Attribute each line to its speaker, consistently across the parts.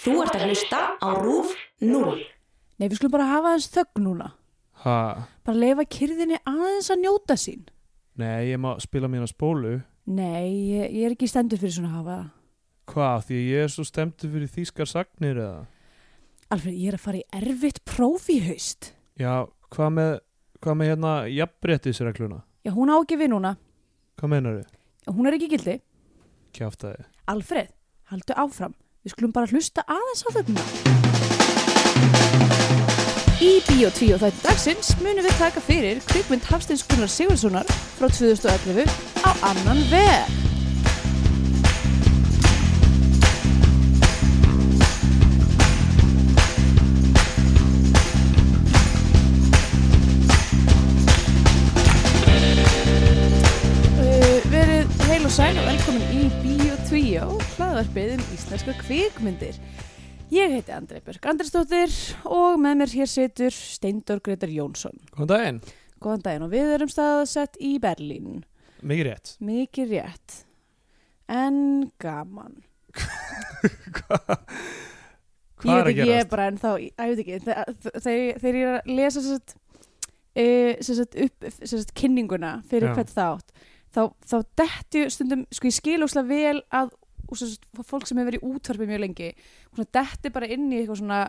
Speaker 1: Þú ert að hlusta á RÚF 0.
Speaker 2: Nei, við skulum bara hafa aðeins þögn núna.
Speaker 3: Ha,
Speaker 2: Bara leifa kyrðinni aðeins að njóta sín.
Speaker 3: nei, ég má spila mína spólu.
Speaker 2: Nei, ég, ég er ekki stendur fyrir svona að hafa það.
Speaker 3: Hvað, því að ég er svo stemtur fyrir þýskar sagnir eða?
Speaker 2: Alfred, ég er að fara í erfitt próf í haust.
Speaker 3: Já, hvað með, hvað með hérna jafnbrettisregluna?
Speaker 2: Já, hún á ekki við núna.
Speaker 3: Hvað meinar þið?
Speaker 2: Hún er ekki í gildi.
Speaker 3: Kjáftæði.
Speaker 2: Alfred, haldu áfram. Við skulum bara hlusta aðeins á þögnuna. Í Bíó 2 þætti dagsins munum við taka fyrir kvikmynd Hafsteins Gunnar Sigurðssonar frá 2011 á annan veg. Uh, verið heil og sæl og velkomin í Bíó 2, hlaðvarpið um íslenska kvikmyndir. Ég heiti Andrei Björk Andrisdóttir og með mér hér situr Steindor Gretar Jónsson.
Speaker 3: Góðan daginn.
Speaker 2: Góðan daginn og við erum staðsett í Berlín.
Speaker 3: Mikið rétt.
Speaker 2: Mikið rétt, en gaman.
Speaker 3: Hvað er að
Speaker 2: ég veit ekki, ég er
Speaker 3: gerast?
Speaker 2: bara ennþá, í- að ég veit ekki, þe- þegar þegar ég er að lesa sem sagt, uh, sem sagt, upp, sem sagt, kynninguna fyrir
Speaker 3: Já.
Speaker 2: hvert þátt, þá, þá dettu stundum, sko ég skil óslega vel að og sem sagt, fólk sem hefur verið í útvarpi mjög lengi svona detti bara inn í eitthvað svona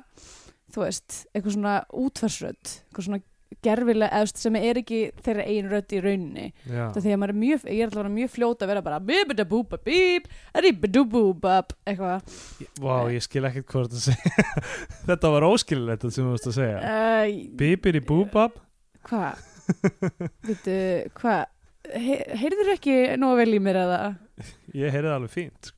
Speaker 2: þú veist, eitthvað svona útvarsrödd eitthvað svona gerfilega eðst sem er ekki þeirra eigin rödd í rauninni
Speaker 3: Já.
Speaker 2: þetta því að maður er mjög, ég er alltaf að vera mjög fljóta að vera bara bibidabúbabíb, ribidubúbab eitthvað
Speaker 3: Vá, ég skil ekkert hvað þetta segja. þetta var óskililegt þetta sem þú veist að segja.
Speaker 2: Æ,
Speaker 3: Bibir í búbab?
Speaker 2: Hva? Vittu, hva? He heyrður ekki nóg vel í mér eða?
Speaker 3: Ég heyrði það alveg fínt. sko.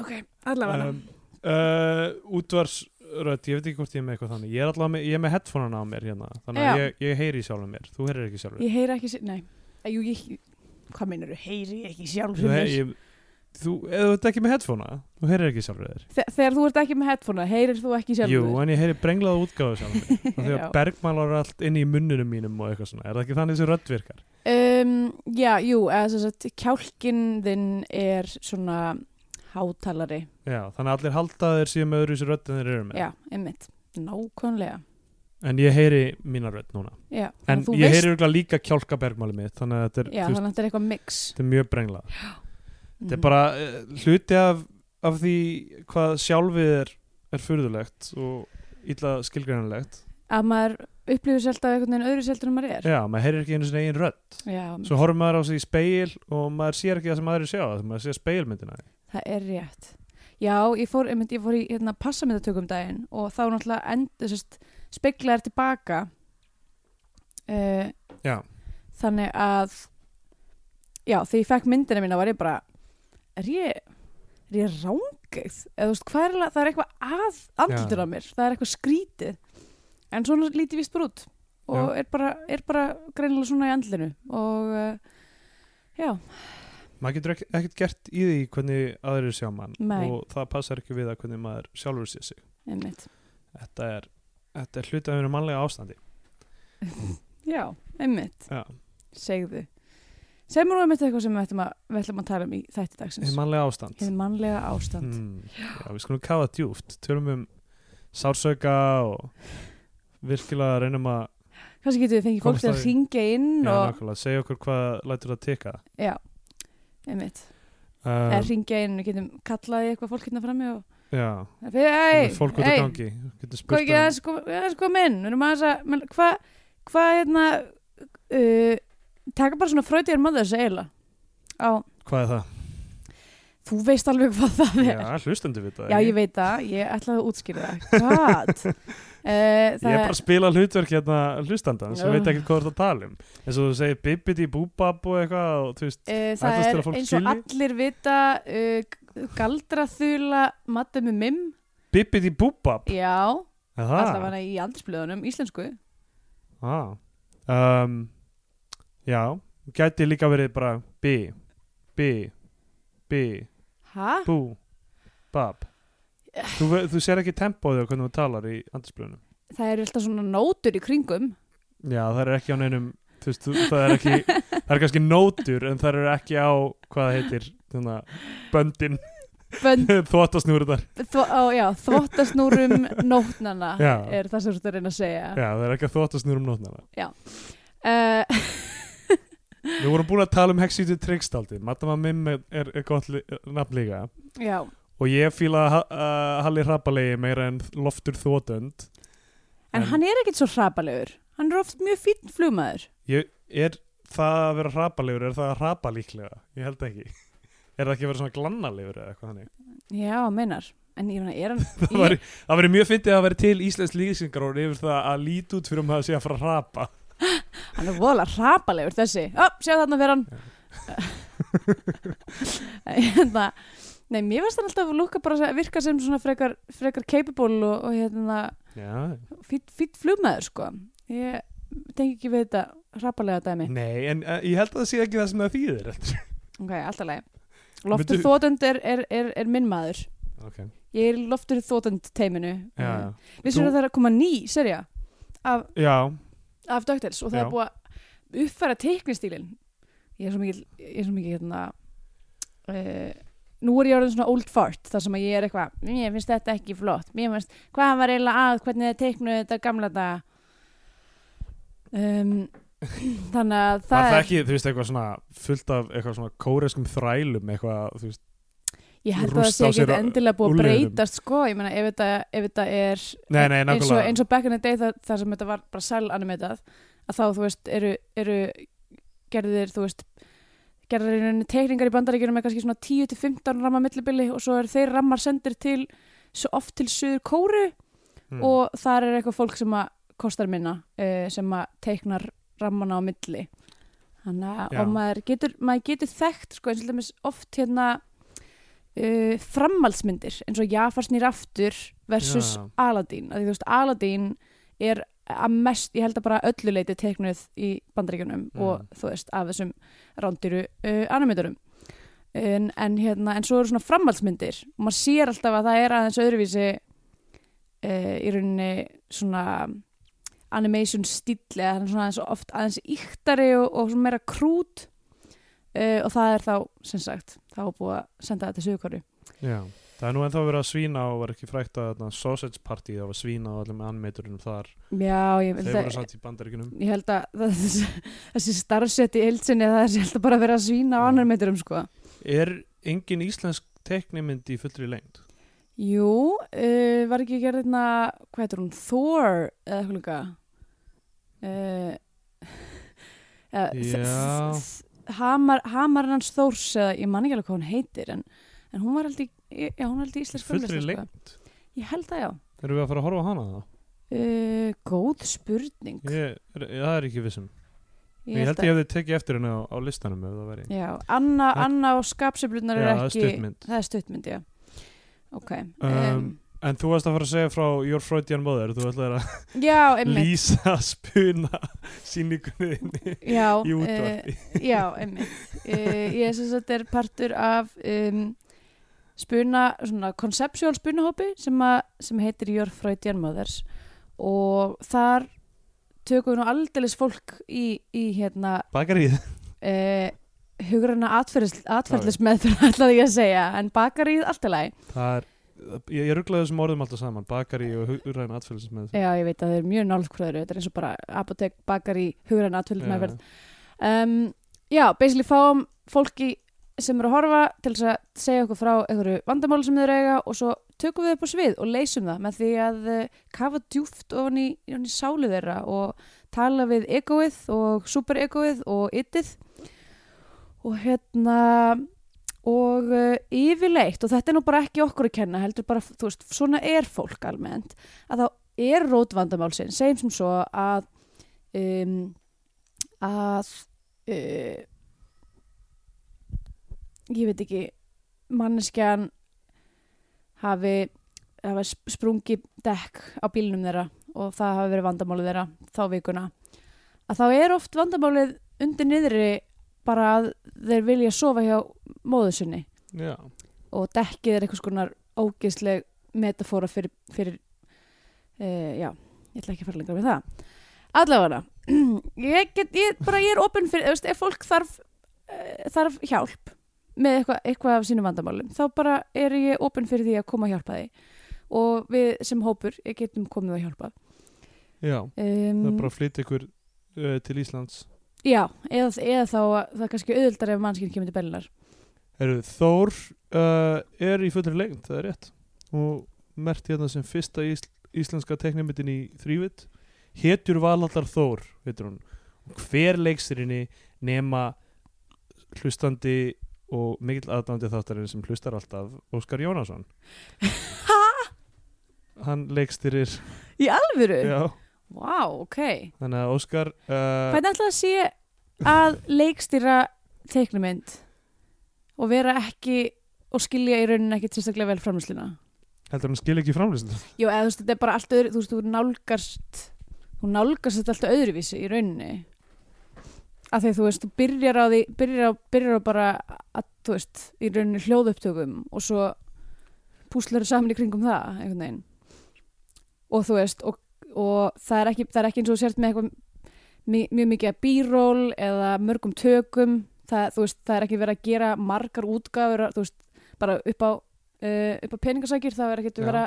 Speaker 2: Ok, allavega.
Speaker 3: Um, uh, útvarsrödd, ég veit ekki hvort ég er með eitthvað þannig. Ég er, allavega með, ég er með headphonean á mér hérna. Þannig að
Speaker 2: Já.
Speaker 3: ég, ég heyri í sjálfum mér. Þú heyrir ekki sjálfum
Speaker 2: ég heyri ekki, sér- nei. Æ, Jú, ég, hvað meinar þú? Heyri ekki sjálfur
Speaker 3: Þú,
Speaker 2: mér?
Speaker 3: ég, þú, ef þú ert ekki með headphonea, þú heyrir ekki sjálfur þér.
Speaker 2: Þe þegar þú ert ekki með headphonea, heyrir þú ekki
Speaker 3: Jú,
Speaker 2: sjálfur þér?
Speaker 3: en ég heyri brenglaða útgáðu sjálfur mér. Og
Speaker 2: Já.
Speaker 3: þegar bergmálar allt inn í munnunum mínum og eitthvað svona. Er það ekki þannig sem rödd virkar?
Speaker 2: Um, já, jú, eða þess að kjálkinn þinn er svona hátalari.
Speaker 3: Já, þannig að allir halda að þeir síðan með öðru sér rödd en þeir eru með.
Speaker 2: Já, einmitt. Nákvæmlega.
Speaker 3: En ég heyri mína rödd núna.
Speaker 2: Já,
Speaker 3: En
Speaker 2: þannig að þú
Speaker 3: ég veist... heyri örugglega líka kjálka bergmáli mitt, þannig að þetta er,
Speaker 2: Já,
Speaker 3: þú veist,
Speaker 2: þannig að þetta er eitthvað mix.
Speaker 3: þetta er mjög brenglað. Þetta
Speaker 2: Mhm.
Speaker 3: er bara eh, hluti af, af því hvað sjálfið er, er furðulegt og illa skilgreinanlegt.
Speaker 2: Mm. Að maður upplifir sér alltaf einhvern veginn öðru sér en maður er.
Speaker 3: Já, maður heyrir ekki einu sinni eigin rödd.
Speaker 2: Já,
Speaker 3: Svo horfir maður á sig í speil og maður sér ekki það sem aðrir sjá, það maður sér speilmyndina.
Speaker 2: Það er rétt. Já, ég fór, einmitt, ég fór í hérna, passamyndatökum daginn og þá náttúrulega endur, sérst, speglaðar tilbaka uh,
Speaker 3: Já,
Speaker 2: þannig að já, þegar ég fekk myndina mína var ég bara er ég, er ég rángið eða þú veist, hvað er eiginlega- það er eitthvað að andlutur
Speaker 3: Já.
Speaker 2: á mér, það er eitthvað skrítið en svona lítið vist bara út og er bara, er bara greinilega svona í andlinu og uh, já,
Speaker 3: maður getur ekk- ekkert gert í því hvernig aðrir sjá mann
Speaker 2: Nei.
Speaker 3: og það passar ekki við að hvernig maður sjálfur sér sig.
Speaker 2: einmitt
Speaker 3: Þetta er, þetta er hluti af einu mannlega ástandi.
Speaker 2: já, einmitt
Speaker 3: Já,
Speaker 2: segðu segðu mér nú um eitthvað sem við ætlum að, við ætlum að tala um í þætti dagsins
Speaker 3: einu mannlega ástand.
Speaker 2: hið mannlega ástand
Speaker 3: Mm, já, við skulum kafa djúft Tölum um sársauka og virkilega reynum að
Speaker 2: kannski getum við fengið fólk
Speaker 3: Komast
Speaker 2: til
Speaker 3: að
Speaker 2: að
Speaker 3: því.
Speaker 2: ringja inn
Speaker 3: já,
Speaker 2: og,
Speaker 3: nákvæmlega, segja okkur hvað lætur það teka
Speaker 2: já, einmitt eða
Speaker 3: um,
Speaker 2: ringja inn og getum kallaði eitthvað fólk hérna frammi og
Speaker 3: Já,
Speaker 2: hei,
Speaker 3: hey, fólk út að gangi
Speaker 2: hvað
Speaker 3: Getur spurt um
Speaker 2: ekki aðeins kom- aðeins koma inn við erum aðeins að men- hvað, hvað hérna uh, taka bara svona fröytir maður þess að eila á,
Speaker 3: hvað er það
Speaker 2: þú veist alveg hvað það er
Speaker 3: Já, hlustendur við það
Speaker 2: Já,
Speaker 3: ekki?
Speaker 2: ég veit það, ég ætlaði að útskýra það Hvað? Uh,
Speaker 3: Ég er bara að spila hlutverk hérna hlustandan sem
Speaker 2: Ugh.
Speaker 3: veit ekkert hvað þú ert að tala um eins og þú segir bibbidi búbab og eitthvað og þú veist,
Speaker 2: Uh, það
Speaker 3: Ætlast til
Speaker 2: er
Speaker 3: að fólk
Speaker 2: eins og
Speaker 3: skilji?
Speaker 2: allir vita uh, galdraþula matta með mim
Speaker 3: bibbidi búbab
Speaker 2: já,
Speaker 3: Það
Speaker 2: allavega í aldursblöðunum íslensku
Speaker 3: ah. um, Já, gæti líka verið bara bí, bí, bí,
Speaker 2: ha?
Speaker 3: bú, bab Þú, ve- þú sér ekki tempóðu hvernig þú talar í andarsblöðunum
Speaker 2: það eru alltaf svona nótur í kringum
Speaker 3: Já, það er ekki á neinum þú veist, þú- það er ekki, það er kannski nótur en það er ekki á, hvað það heitir þannig, böndin
Speaker 2: bönd,
Speaker 3: Þvottasnúriðar
Speaker 2: þvo, á, já, þvottasnúrum nótnana
Speaker 3: Já.
Speaker 2: er það sem þú ert að reyna að segja
Speaker 3: Já, það er ekki að um þvottasnúrum nótnana
Speaker 2: uh,
Speaker 3: Við vorum búin að tala um Hexity Trickstaldi Madama Mim er, er, er gott li- nafn líka
Speaker 2: já,
Speaker 3: Og ég fíla ha- uh, Halli Hrapalegi meira en Loftur Þvotund
Speaker 2: en hann er ekkit svo hrapalegur hann er oft mjög fínn flugmaður
Speaker 3: ég, Er það að vera hrapalegur, er það að hrapa líklega? Ég held ekki Er það ekki að vera svona glannalegur eða eitthvað þannig?
Speaker 2: já, meinar en ég meina, er hann
Speaker 3: Það væri, það væri mjög fyndið að vera til Íslands lýsingar og yfir það að líti út fyrir um það sé að fara að hrapa
Speaker 2: Hann er voðalega hrapalegur þessi Ó, sjá þarna fyrir hann hérna, Nei, mér finnst hann alltaf að lúka bara að virka sem svona frekar, frekar capable og, og hérna
Speaker 3: Já,
Speaker 2: fýtt fýt flugmaður sko Ég tengi ekki við þetta hrapalega dæmi
Speaker 3: Nei, en uh, ég held að það sé ekki það sem það þýðir heldur.
Speaker 2: Ok, alltaf leið Loftur
Speaker 3: Myndu-
Speaker 2: þótund er, er, er, er minn maður
Speaker 3: Ok,
Speaker 2: Ég er í loftur þótund teiminu
Speaker 3: já,
Speaker 2: Mm.
Speaker 3: já.
Speaker 2: Vissum
Speaker 3: Þú-
Speaker 2: að það er að koma ný serja af,
Speaker 3: já
Speaker 2: af DuckTales og það
Speaker 3: Já.
Speaker 2: er búið að uppfæra teiknistílin ég er svo mikið ég er svo mikið hérna uh, nú er ég orðin svona old fart þar sem að ég er eitthvað, mér finnst þetta ekki flott mér finnst, hvað var eiginlega að hvernig þið teiknuðu þetta gamla dag um, þannig að
Speaker 3: Var
Speaker 2: það
Speaker 3: það
Speaker 2: er
Speaker 3: ekki, þú veist, eitthvað svona fullt af eitthvað svona kóreskum þrælum eitthvað, þú veist,
Speaker 2: ég held að það
Speaker 3: rústa á
Speaker 2: sé
Speaker 3: sér
Speaker 2: ekki endilega búið að
Speaker 3: úlnliðinum?
Speaker 2: breytast sko, ég meina ef þetta, ef þetta er
Speaker 3: Nei, nei,
Speaker 2: eins, og,
Speaker 3: nákvæmlega.
Speaker 2: eins og back in the day þar, þar sem þetta var bara sæl animetað að þá þú veist eru, eru gerðir þú veist gerðir í rauninni teikningar í bandaríkjunum með kannski svona 10-15 ramma millibili og svo eru þeir rammar sendir til svo oft til söður kóru
Speaker 3: hmm.
Speaker 2: og þar er eitthvað fólk sem að kostar minna uh, sem að teiknar rammana á milli Þannig, að-
Speaker 3: Já.
Speaker 2: og maður getur, maður getur þekkt sko, eins og dæmis oft hérna uh, framhaldsmyndir eins og Jafar snýr aftur versus
Speaker 3: Já.
Speaker 2: Aladdin að því þú veist Aladdin er að mest, ég held að bara öllu leiti teiknuð í bandaríkjunum
Speaker 3: Mm.
Speaker 2: og þú veist af þessum rándýru uh, animaturum en, en, hérna, en svo eru svona framhaldsmyndir og maður sér alltaf að það er aðeins öðruvísi uh, í rauninni svona animation stíll eða hann er svona aðeins oft aðeins yktari og, og svona meira krút uh, og það er þá sem sagt þá er búið að senda þetta til sögurkori
Speaker 3: Já, það er nú ennþá verið að svína og var ekki frækt að þarna, sausage party það var svína á allum animatorunum þar
Speaker 2: Já, ég
Speaker 3: þeir voru samt í bandaríkunum
Speaker 2: ég held að það- þessi- þessi starfsett í heilsinni það er held að bara vera að svína á annar meiturum sko.
Speaker 3: Er engin íslensk teknimynd í fullri lengd?
Speaker 2: Jú, uh, var ekki gerð hérna, hvað heitir hún, Thor eða eitthvað líka uh,
Speaker 3: Já.
Speaker 2: Hamar, Hamarinn hans Þórs eða ég man ekki alveg hvað hún heitir en, en hún var held í, já, hún var held í
Speaker 3: Í
Speaker 2: íslensk
Speaker 3: fullri
Speaker 2: fyrirlestra,
Speaker 3: lengd?
Speaker 2: sko. Ég held að já
Speaker 3: Erum við að fara að horfa á hana það?
Speaker 2: uh, Góð spurning
Speaker 3: Ég, er, það er ekki vissum Ég held ég hefði tekið eftir henni á, á listanum ef það væri
Speaker 2: Já, Anna,
Speaker 3: Það-
Speaker 2: Anna og skapseflunar
Speaker 3: Já,
Speaker 2: er
Speaker 3: það er
Speaker 2: ekki
Speaker 3: stuttmynd.
Speaker 2: Það er stuttmynd, já Ok
Speaker 3: Um, En þú varst að fara að segja frá Your Freudian Mother Þú ætlaðir að
Speaker 2: Já, einmitt
Speaker 3: lýsa spuna síningunni þinni
Speaker 2: já,
Speaker 3: í
Speaker 2: eh,
Speaker 3: útvarpi
Speaker 2: já, einmitt uh, Ég sem sagt er partur af um, spuna, svona conceptual spunahópi sem, að- sem heitir Your Freudian Mothers og þar tökum við nú aldeilis fólk í, í hérna
Speaker 3: Bakaríð
Speaker 2: uh, hugrana atferðlis meðfyrir ætlaði ég að segja en bakaríð allt í lagi
Speaker 3: Það er, ég, ég rugglaði þessum orðum alltaf saman Bakaríð og hugræðin atfélagsins með
Speaker 2: Já, ég veit að það er mjög nálgkvöður þetta er eins og bara apotek, bakari, hugræn atfylg með verð um, Já, basically fáum fólki sem eru að horfa til þess að segja okkur frá einhverju vandamáli sem þeir eiga og svo tökum við upp á svið og leysum það með því að eh, kafa djúft ofan í, ofan í sálu þeirra og tala við egoið og superegoið og ytið og hérna og uh, yfirleitt og þetta er nú bara ekki okkur að kenna heldur bara, þú veist, svona er fólk almennt að þá er rót vandamálsinn segjum sem svo að um, að uh, ég veit ekki manneskjan hafi, hafi sp- sprungið dekk á bílnum þeirra og það hafi verið vandamálið þeirra þá vikuna að þá er oft vandamálið undir niðri bara að þeir vilja sofa hjá móður sinni
Speaker 3: Já,
Speaker 2: og dekkið er eitthvað skonar ógeðsleg metafóra fyrir, fyrir uh, já, ég ætla ekki að fara lengra með það allavega ég get, ég bara ég er opinn fyrir, þú veist, ef fólk eh, þarf uh, þarf hjálp með eitthvað, eitthvað af sínum vandamálum þá bara er ég opin fyrir því að koma að hjálpa því og við sem hópur eh, getum komið að hjálpa
Speaker 3: Já,
Speaker 2: um,
Speaker 3: það er bara að flytja ykkur uh, til Íslands
Speaker 2: Já, eða, eða þá að það er kannski auðvildar ef mannskinn kemur til Bellinar
Speaker 3: Heru, Þór uh, er í fullri lengd, það er rétt og mert hérna sem fyrsta ísl, íslenska teknimitin í þrývit hetjur Valaldar Þór heitir hún. og hver leikstirinni nema hlustandi og mikill aðdæmdi þáttarinn sem hlustar alltaf Óskar Jónasson hann leikstirir
Speaker 2: Í alvöru?
Speaker 3: já,
Speaker 2: Vá, ok
Speaker 3: þannig að Óskar uh,
Speaker 2: Hvernig ætla að sé að leikstýra teiknumynd og vera ekki og skilja í rauninni ekki tilstaklega vel framlýsluna
Speaker 3: heldur hann skil ekki framlýslu
Speaker 2: Jú, eða þú veist, þetta er bara allt öðru, þú veist, þú nálgast þú nálgast þetta alltaf öðruvísi í rauninni af því að þú veist, þú byrjar á því byrjar á, byrjar á bara að, þú veist, í rauninni hljóðupptökum og svo púslar saman í kringum það, einhvern veginn og þú veist, og, og það, er ekki, það er ekki eins og þú sért með eitthvað mi- mjög mikið að bíról eða mörgum tökum það, þú veist, það er ekki verið að gera margar útgáfur, þú veist, bara upp á uh, upp á peningasækir, það er ekki
Speaker 3: Já.
Speaker 2: að vera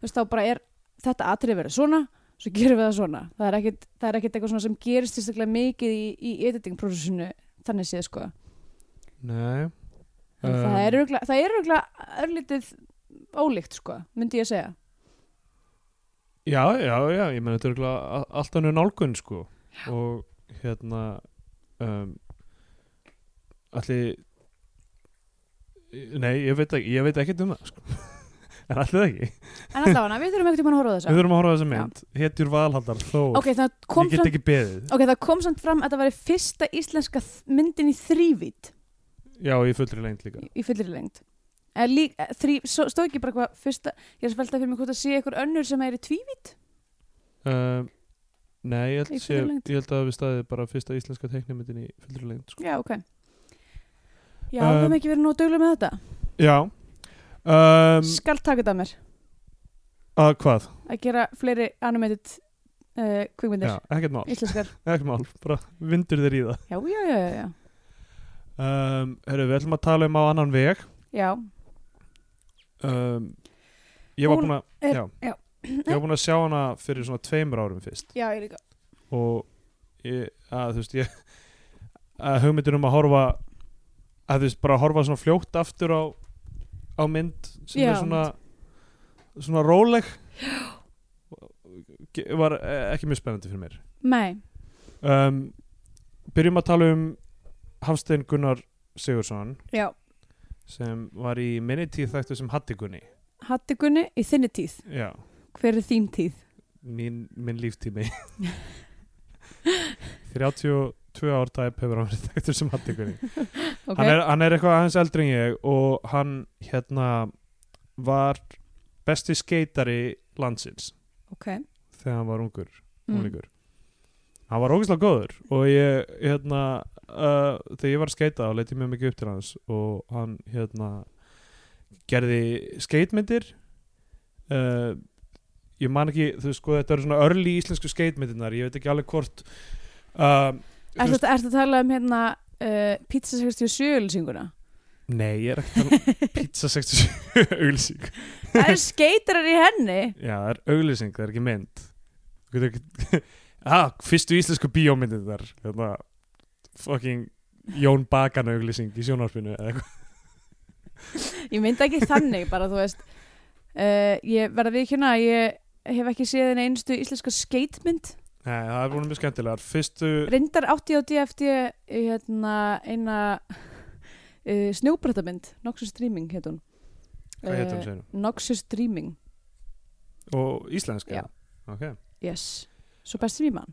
Speaker 2: þú veist, þá bara er þetta atrið verið svona svo gerum við það svona það er ekkit, það er ekkit eitthvað svona sem gerist sérstaklega mikið í, í editingprósessinu þannig séð sko
Speaker 3: nei
Speaker 2: um, það er örugglega- það er örgulega örlítið ólíkt sko myndi ég að segja
Speaker 3: Já, já, já, ég meina þetta er örugglega a- allt annað nálgun sko og hérna um, allir nei, ég veit ekki ég veit ekkert um það sko en allir ekki,
Speaker 2: en allavega, við þurfum ekkert um að horfa á
Speaker 3: við
Speaker 2: þessa
Speaker 3: þurfum að horfa á þessa mynd hetjur Valhaldar, þó,
Speaker 2: ok, það kom,
Speaker 3: ég get
Speaker 2: fram,
Speaker 3: ekki beðið
Speaker 2: ok, það kom samt fram að það væri fyrsta íslenska þ- myndin í þrývít
Speaker 3: já, ég fullri lengt líka
Speaker 2: í fullir lengd Eða lík, þrý, stóð ekki bara hvað fyrsta ég er að velta fyrir mig hvort að sé eitthvað önnur sem er í tvívít
Speaker 3: um, nei, ég held,
Speaker 2: Í
Speaker 3: sé,
Speaker 2: fullri lengd.
Speaker 3: ég held að við staðið bara fyrsta íslenska teknimyndin í fullri lengt sko.
Speaker 2: já, ok já,
Speaker 3: Um,
Speaker 2: við hefum ekki verið nú að dögla með þetta
Speaker 3: já um,
Speaker 2: skal taka þetta að mér
Speaker 3: að hvað?
Speaker 2: að gera fleiri animated uh, kvikmyndir,
Speaker 3: Já, ekkert mál,
Speaker 2: íslenskar
Speaker 3: ekkert mál bara vindur þér í það
Speaker 2: já, já, já, já, já,
Speaker 3: Um, herru, við ætlum að tala um á annan veg
Speaker 2: já.
Speaker 3: um, Ég var
Speaker 2: Hún
Speaker 3: búin að
Speaker 2: er-
Speaker 3: já,
Speaker 2: já.
Speaker 3: Ég var búin að sjá hana fyrir svona tveimur árum fyrst
Speaker 2: já, ég líka
Speaker 3: og ég, að, þú veist ég að hugmyndin um að horfa að þú veist bara að horfa svona fljótt aftur á, á mynd sem
Speaker 2: Já,
Speaker 3: er svona svona róleg Ge- var eh, ekki mjög spennandi fyrir mér
Speaker 2: nei,
Speaker 3: um, Byrjum að tala um Hafstein Gunnar Sigursson
Speaker 2: já,
Speaker 3: sem var í minni tíð þættu sem Hattigunni
Speaker 2: Hattigunni í þinni tíð
Speaker 3: já,
Speaker 2: hver er þín tíð?
Speaker 3: mín, minn líftími 32 ár tæp hefur hann verið þættur sem Hattigunni
Speaker 2: ok,
Speaker 3: hann, er, hann er eitthvað aðeins eldri en ég og hann hérna var besti skeitari landsins
Speaker 2: ok
Speaker 3: þegar hann var ungur,
Speaker 2: mm.
Speaker 3: ungur. hann var ógeðslega góður og ég hérna uh, þegar ég var að skeita þá leit ég mjög mikið upp til hans og hann hérna gerði skeitmyndir uh, ég man ekki þú veist sko þetta eru svona örli íslensku skeitmyndirnar ég veit ekki alveg hvort uh, þú
Speaker 2: er þetta að tala um hérna uh, Pizza 67 lýsinguna?
Speaker 3: nei ég er ekki að tala um pizza 67 auglýsing
Speaker 2: það er skeitarar í henni
Speaker 3: já það er auglýsing það er ekki mynd Þú getur ekki- ah, fyrstu íslensku bíómyndirnar hérna fucking Jón Bakan auglýsing í sjónarfinu eða eitthvað
Speaker 2: ég myndi ekki þannig bara þú veist uh, ég verða við ekki hérna ég hef ekki séð en einstu íslenska skeitmynd
Speaker 3: Nei, það er búin mjög skemmtilegar Fyrstu,
Speaker 2: reyndar átti ég á DFD hérna, eina uh, snjóbrættamynd Noxus Dreaming heit hún
Speaker 3: hvað hétum
Speaker 2: Eh,
Speaker 3: sérum?
Speaker 2: Noxus Dreaming,
Speaker 3: Og íslenska?
Speaker 2: Já.
Speaker 3: Ok
Speaker 2: yes svo best sem ég man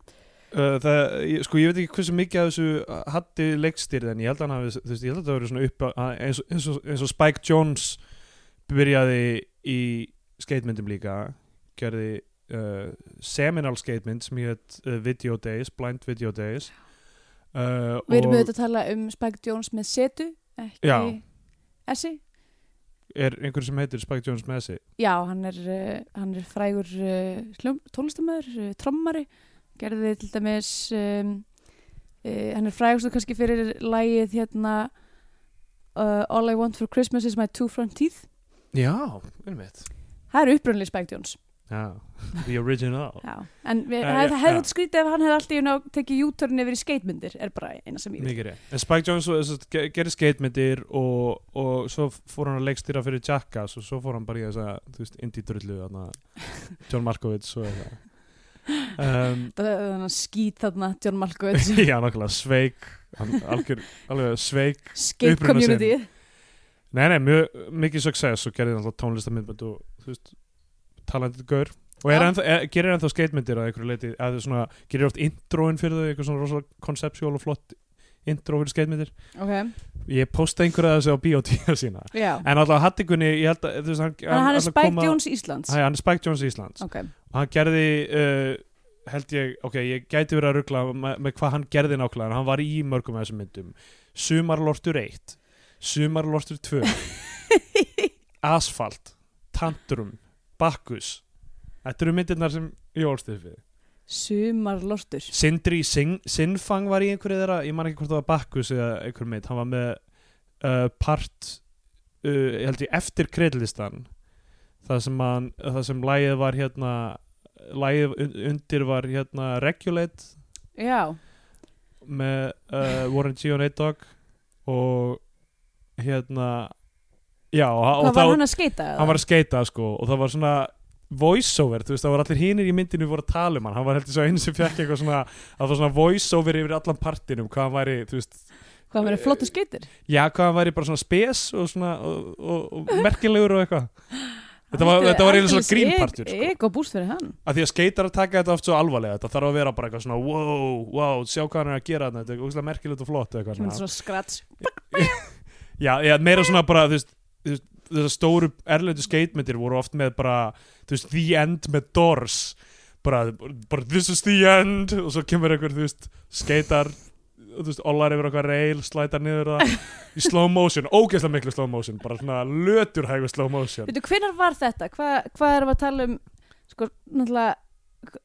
Speaker 3: Uh, það, ég, sko ég veit ekki hversu mikið af þessu hatti leikstýrið en ég held að hann hafi þú veist, ég held að það verið svona upp að, eins, og- eins, og, eins og Spike Jones byrjaði í skeitmyndum líka gerði uh, seminal skeitmynd sem hétt uh, Video Days, Blind Video Days uh,
Speaker 2: við erum
Speaker 3: og
Speaker 2: auðvitað að tala um Spike Jones með setu ekki
Speaker 3: Já.
Speaker 2: Essi
Speaker 3: er einhver sem heitir Spike Jones með þessi
Speaker 2: já, hann er, uh, hann er frægur uh, tónlistamöður, uh, trommari gerði til dæmis eh, um, uh, hann er frægur svo kannski fyrir lægið hérna uh, All I Want for Christmas is my two front teeth
Speaker 3: Já, einmitt
Speaker 2: það eru upprunnileg Spike Jones
Speaker 3: Já, the original
Speaker 2: Já. en við,
Speaker 3: Já,
Speaker 2: það
Speaker 3: Eh, já,
Speaker 2: hefði hef
Speaker 3: já.
Speaker 2: þetta skrítið ef hann hefði alltaf you know, tekið júturinn yfir í skeitmyndir er bara eina sem ég vil
Speaker 3: Mikið rétt En Spike Jones var- þess að ge- gerði skatemyndir og, og svo fór hann að leikstýra fyrir Jackass og svo fór hann bara í þess að þú veist, indie drullu þarna, John Markovits og eitthvað um,
Speaker 2: þannig að skýt þarna John Malkovich
Speaker 3: Já, nákvæmlega sveik hann, algjör, alveg sveik
Speaker 2: skate
Speaker 3: Uppruna sinn.
Speaker 2: community
Speaker 3: Nei, nei, mjög, mikið success og gerði náttúrulega tónlistamindbönd og þú veist, talandi gaur og er
Speaker 2: Já.
Speaker 3: ennþá, er, gerir ennþá skatemyndir að einhverju leiti að þau svona, gerir oft introin fyrir þau eitthvað svona rosalega koncepsjól og flott intro fyrir skatemyndir
Speaker 2: ok,
Speaker 3: ég posta einhverja þessu á biotíða sína
Speaker 2: já
Speaker 3: en alltaf Hattikunni, ég held að þú veist, hann,
Speaker 2: Þannig að hann er
Speaker 3: ætlar að
Speaker 2: Spike
Speaker 3: koma-
Speaker 2: Jones Íslands
Speaker 3: Hæ, hann er Spike Jones Íslands
Speaker 2: Ok,
Speaker 3: og hann gerði uh, held ég, ok, ég gæti verið að ruggla með, með hvað hann gerði nákvæmlega en hann var í mörgum af þessum myndum Sumarlortur 1, Sumarlortur 2 Asfalt Tantrum, Bakkus Þetta eru myndirnar sem ég ólst upp við
Speaker 2: sumarlortur
Speaker 3: Sindri Sing, Sinfang var í einhverju þeirra ég man ekki hvort það var Bakkus eða einhver mynd hann var með uh, part uh, ég held ég eftir kreidlistan það sem, hann, það sem lægið var hérna lægið un- undir var hérna Regulate
Speaker 2: Já,
Speaker 3: með uh, Warren G og Nate Dogg og hérna já og,
Speaker 2: hvað
Speaker 3: og
Speaker 2: var
Speaker 3: þá-
Speaker 2: hann að skeita?
Speaker 3: hann var að skeita sko og það var svona voiceover, þú veist, það var allir hinir í myndinu voru að tala um hann, hann var heldur svo einu sem fekk eitthvað svona, það var svona voiceover yfir allan partinum, hvað hann væri, þú veist
Speaker 2: Hvað hann var að flottu skeitir?
Speaker 3: já, hvað hann væri bara svona spes og svona, og, og, og merkilegur og eitthvað þetta var, þetta var einu svona grínpartur sko.
Speaker 2: Ego búst fyrir hann
Speaker 3: að því að skeitar að taka þetta oft svo alvarlega þetta þarf að vera bara eitthvað svona, wow, wow sjá hvað hann er að gera þarna, þetta er ógæslega merkilegt og flott eitthvað
Speaker 2: Svona
Speaker 3: svona.
Speaker 2: svona skrats
Speaker 3: Já, já, meira svona bara þú veist, þú veist, þessar stóru erlendu skeitmyndir voru oft með bara þú veist, the end með Doors bara, bara this is the end og svo kemur einhver, þú veist, skeitar þú veist, ollar yfir okkar reil slætar niður það í slow motion ógeðslega miklu slow motion, bara svona löturhægu slow motion
Speaker 2: Veitu, hvenær var þetta? Hva, hvað erum við að tala um sko, náttúrulega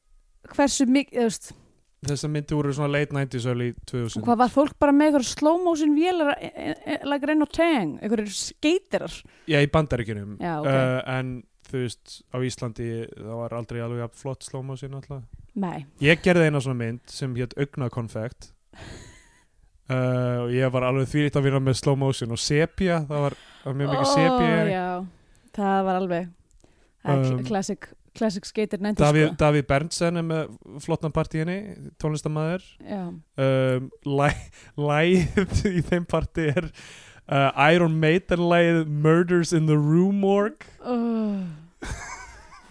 Speaker 2: hversu mikið, þú veist,
Speaker 3: þessar myndir voru svona late 90s, early 2000
Speaker 2: hvað var fólk bara með eitthvað slow motion vélar e- e- e- like reyn og tang, eitthvað skeitirar
Speaker 3: Já, í bandaríkjunum
Speaker 2: Já, ok.
Speaker 3: uh, en þú veist, á Íslandi það var aldrei alveg jafn flott slow motion alltaf
Speaker 2: Nei,
Speaker 3: Ég gerði eina svona mynd sem hétt Augnakonfekt uh, og ég var alveg þvílíkt að vinna með slow motion og sepia, það var, það var mjög mikið sepia
Speaker 2: já, það var alveg það er
Speaker 3: Um,
Speaker 2: um, classic, classic skater sko. 90
Speaker 3: Davíð, Davíð Berndsen er með flottan partíinni, tónlistamæður
Speaker 2: Já,
Speaker 3: um, læ, Lægið í þeim partí er uh, Iron Maiden lægið Murders in the Room Org
Speaker 2: Oh.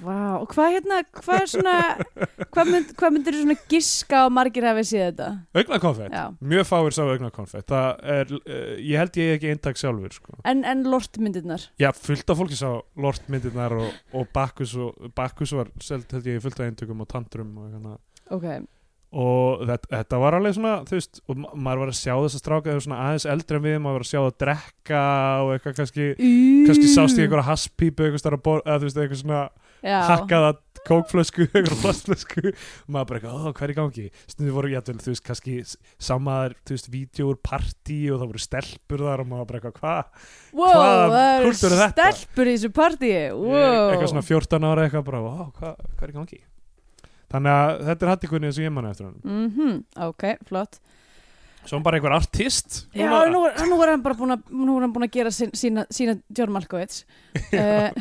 Speaker 2: Vá, og hvað hérna, hvað er svona, hvað, mynd, hvað myndir þú svona giska og margir hafi séð þetta?
Speaker 3: Augnakonfekt,
Speaker 2: Já,
Speaker 3: mjög fáir sá Augnakonfekt það er, uh, ég held ég eigi ekki eintak sjálfur sko.
Speaker 2: en, en lortmyndirnar,
Speaker 3: Já, fullt af fólki sá lortmyndirnar og, og Bakkus og Bakkus var selt held ég í fullt af eintökum og tantrum og eitthvað annað.
Speaker 2: ok,
Speaker 3: og þetta, þetta var alveg svona þú veist, og ma maður var að sjá þess að stráka þau voru svona aðeins eldri en við, maður var að sjá það að drekka og eitthvað kannski kannski sást ég einhverja haspípu eitthvað starf að borða, þú veist, eitthvað svona
Speaker 2: Já.
Speaker 3: hakkaða kókflösku, eitthvað plastflösku og maður bara eitthvað, "Ó, hvað er í gangi stundum voru, já, þú veist, kannski s- samaðar, þú veist, vídjóur, partí og það voru stelpur þar og maður bara eitthvað, hvað
Speaker 2: wow,
Speaker 3: hvaða
Speaker 2: það eru
Speaker 3: kúltúr er þetta?
Speaker 2: stelpur í þessu partíi, wow.
Speaker 3: eitthvað svona 14 ára eitthvað bara, "Vá, hvað, hvað er í gangi þannig að þetta er hattikunni eins og ég manna eftir hann
Speaker 2: Mhm, ok, flott
Speaker 3: svo hann bara einhver artist
Speaker 2: Já,
Speaker 3: núna.
Speaker 2: nú, er- nú er hann bara búin að, nú er hann búin að gera sín, sína, sína John Malkovich uh,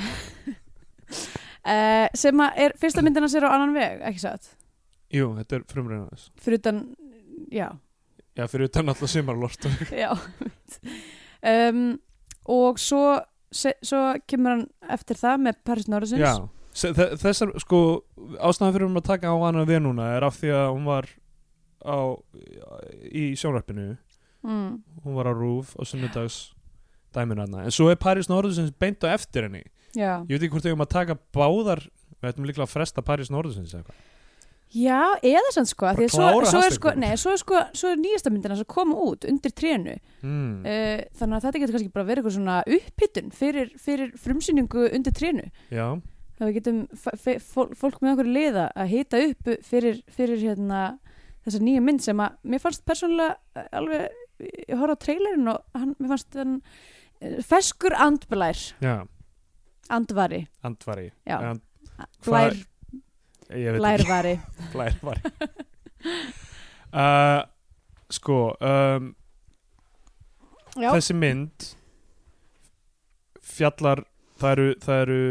Speaker 2: uh, sem að er fyrsta myndina sér á annan veg, ekki satt
Speaker 3: jú, þetta er frumreina þess
Speaker 2: fyrir utan, já
Speaker 3: já, fyrir utan alltaf sumarlort
Speaker 2: Já um, Og svo, se, svo kemur hann eftir það með Paris Norrisons
Speaker 3: já, Se- þe- þessar sko ástæðan fyrir um að taka á hana við núna er af því að hún var á, í sjónrappinu
Speaker 2: mm,
Speaker 3: hún var á Rúf á sunnudags dæminu hana, en svo er Paris Norðursins beint á eftir henni,
Speaker 2: já.
Speaker 3: ég veit ekki hvort við um að taka báðar, við ætlum líklega að fresta Paris Norðursins eitthvað
Speaker 2: já, eða sann sko af því að svo,
Speaker 3: klára
Speaker 2: svo, er
Speaker 3: hashtag.
Speaker 2: sko, nei, svo er sko Svo er nýjasta myndina sem kom út undir trénu
Speaker 3: mm.
Speaker 2: uh, Þannig að þetta getur kannski bara verið eitthvað svona upphittun fyrir, fyrir frumsýningu undir trénu
Speaker 3: já
Speaker 2: Þannig að við getum fa- fe- fól- fólk með okkur liða að hita upp fyrir, fyrir hérna, þessa nýja mynd sem að mér fannst persónulega eh, alveg ég horfði á trailerinn og hann, mér fannst hann eh, feskur andblær,
Speaker 3: já, andvari
Speaker 2: andvari Já.
Speaker 3: And,
Speaker 2: blær,
Speaker 3: Hvað- ég veit ekki,
Speaker 2: blærvari
Speaker 3: blærvari uh, sko um,
Speaker 2: Já,
Speaker 3: þessi mynd fjallar það eru, það eru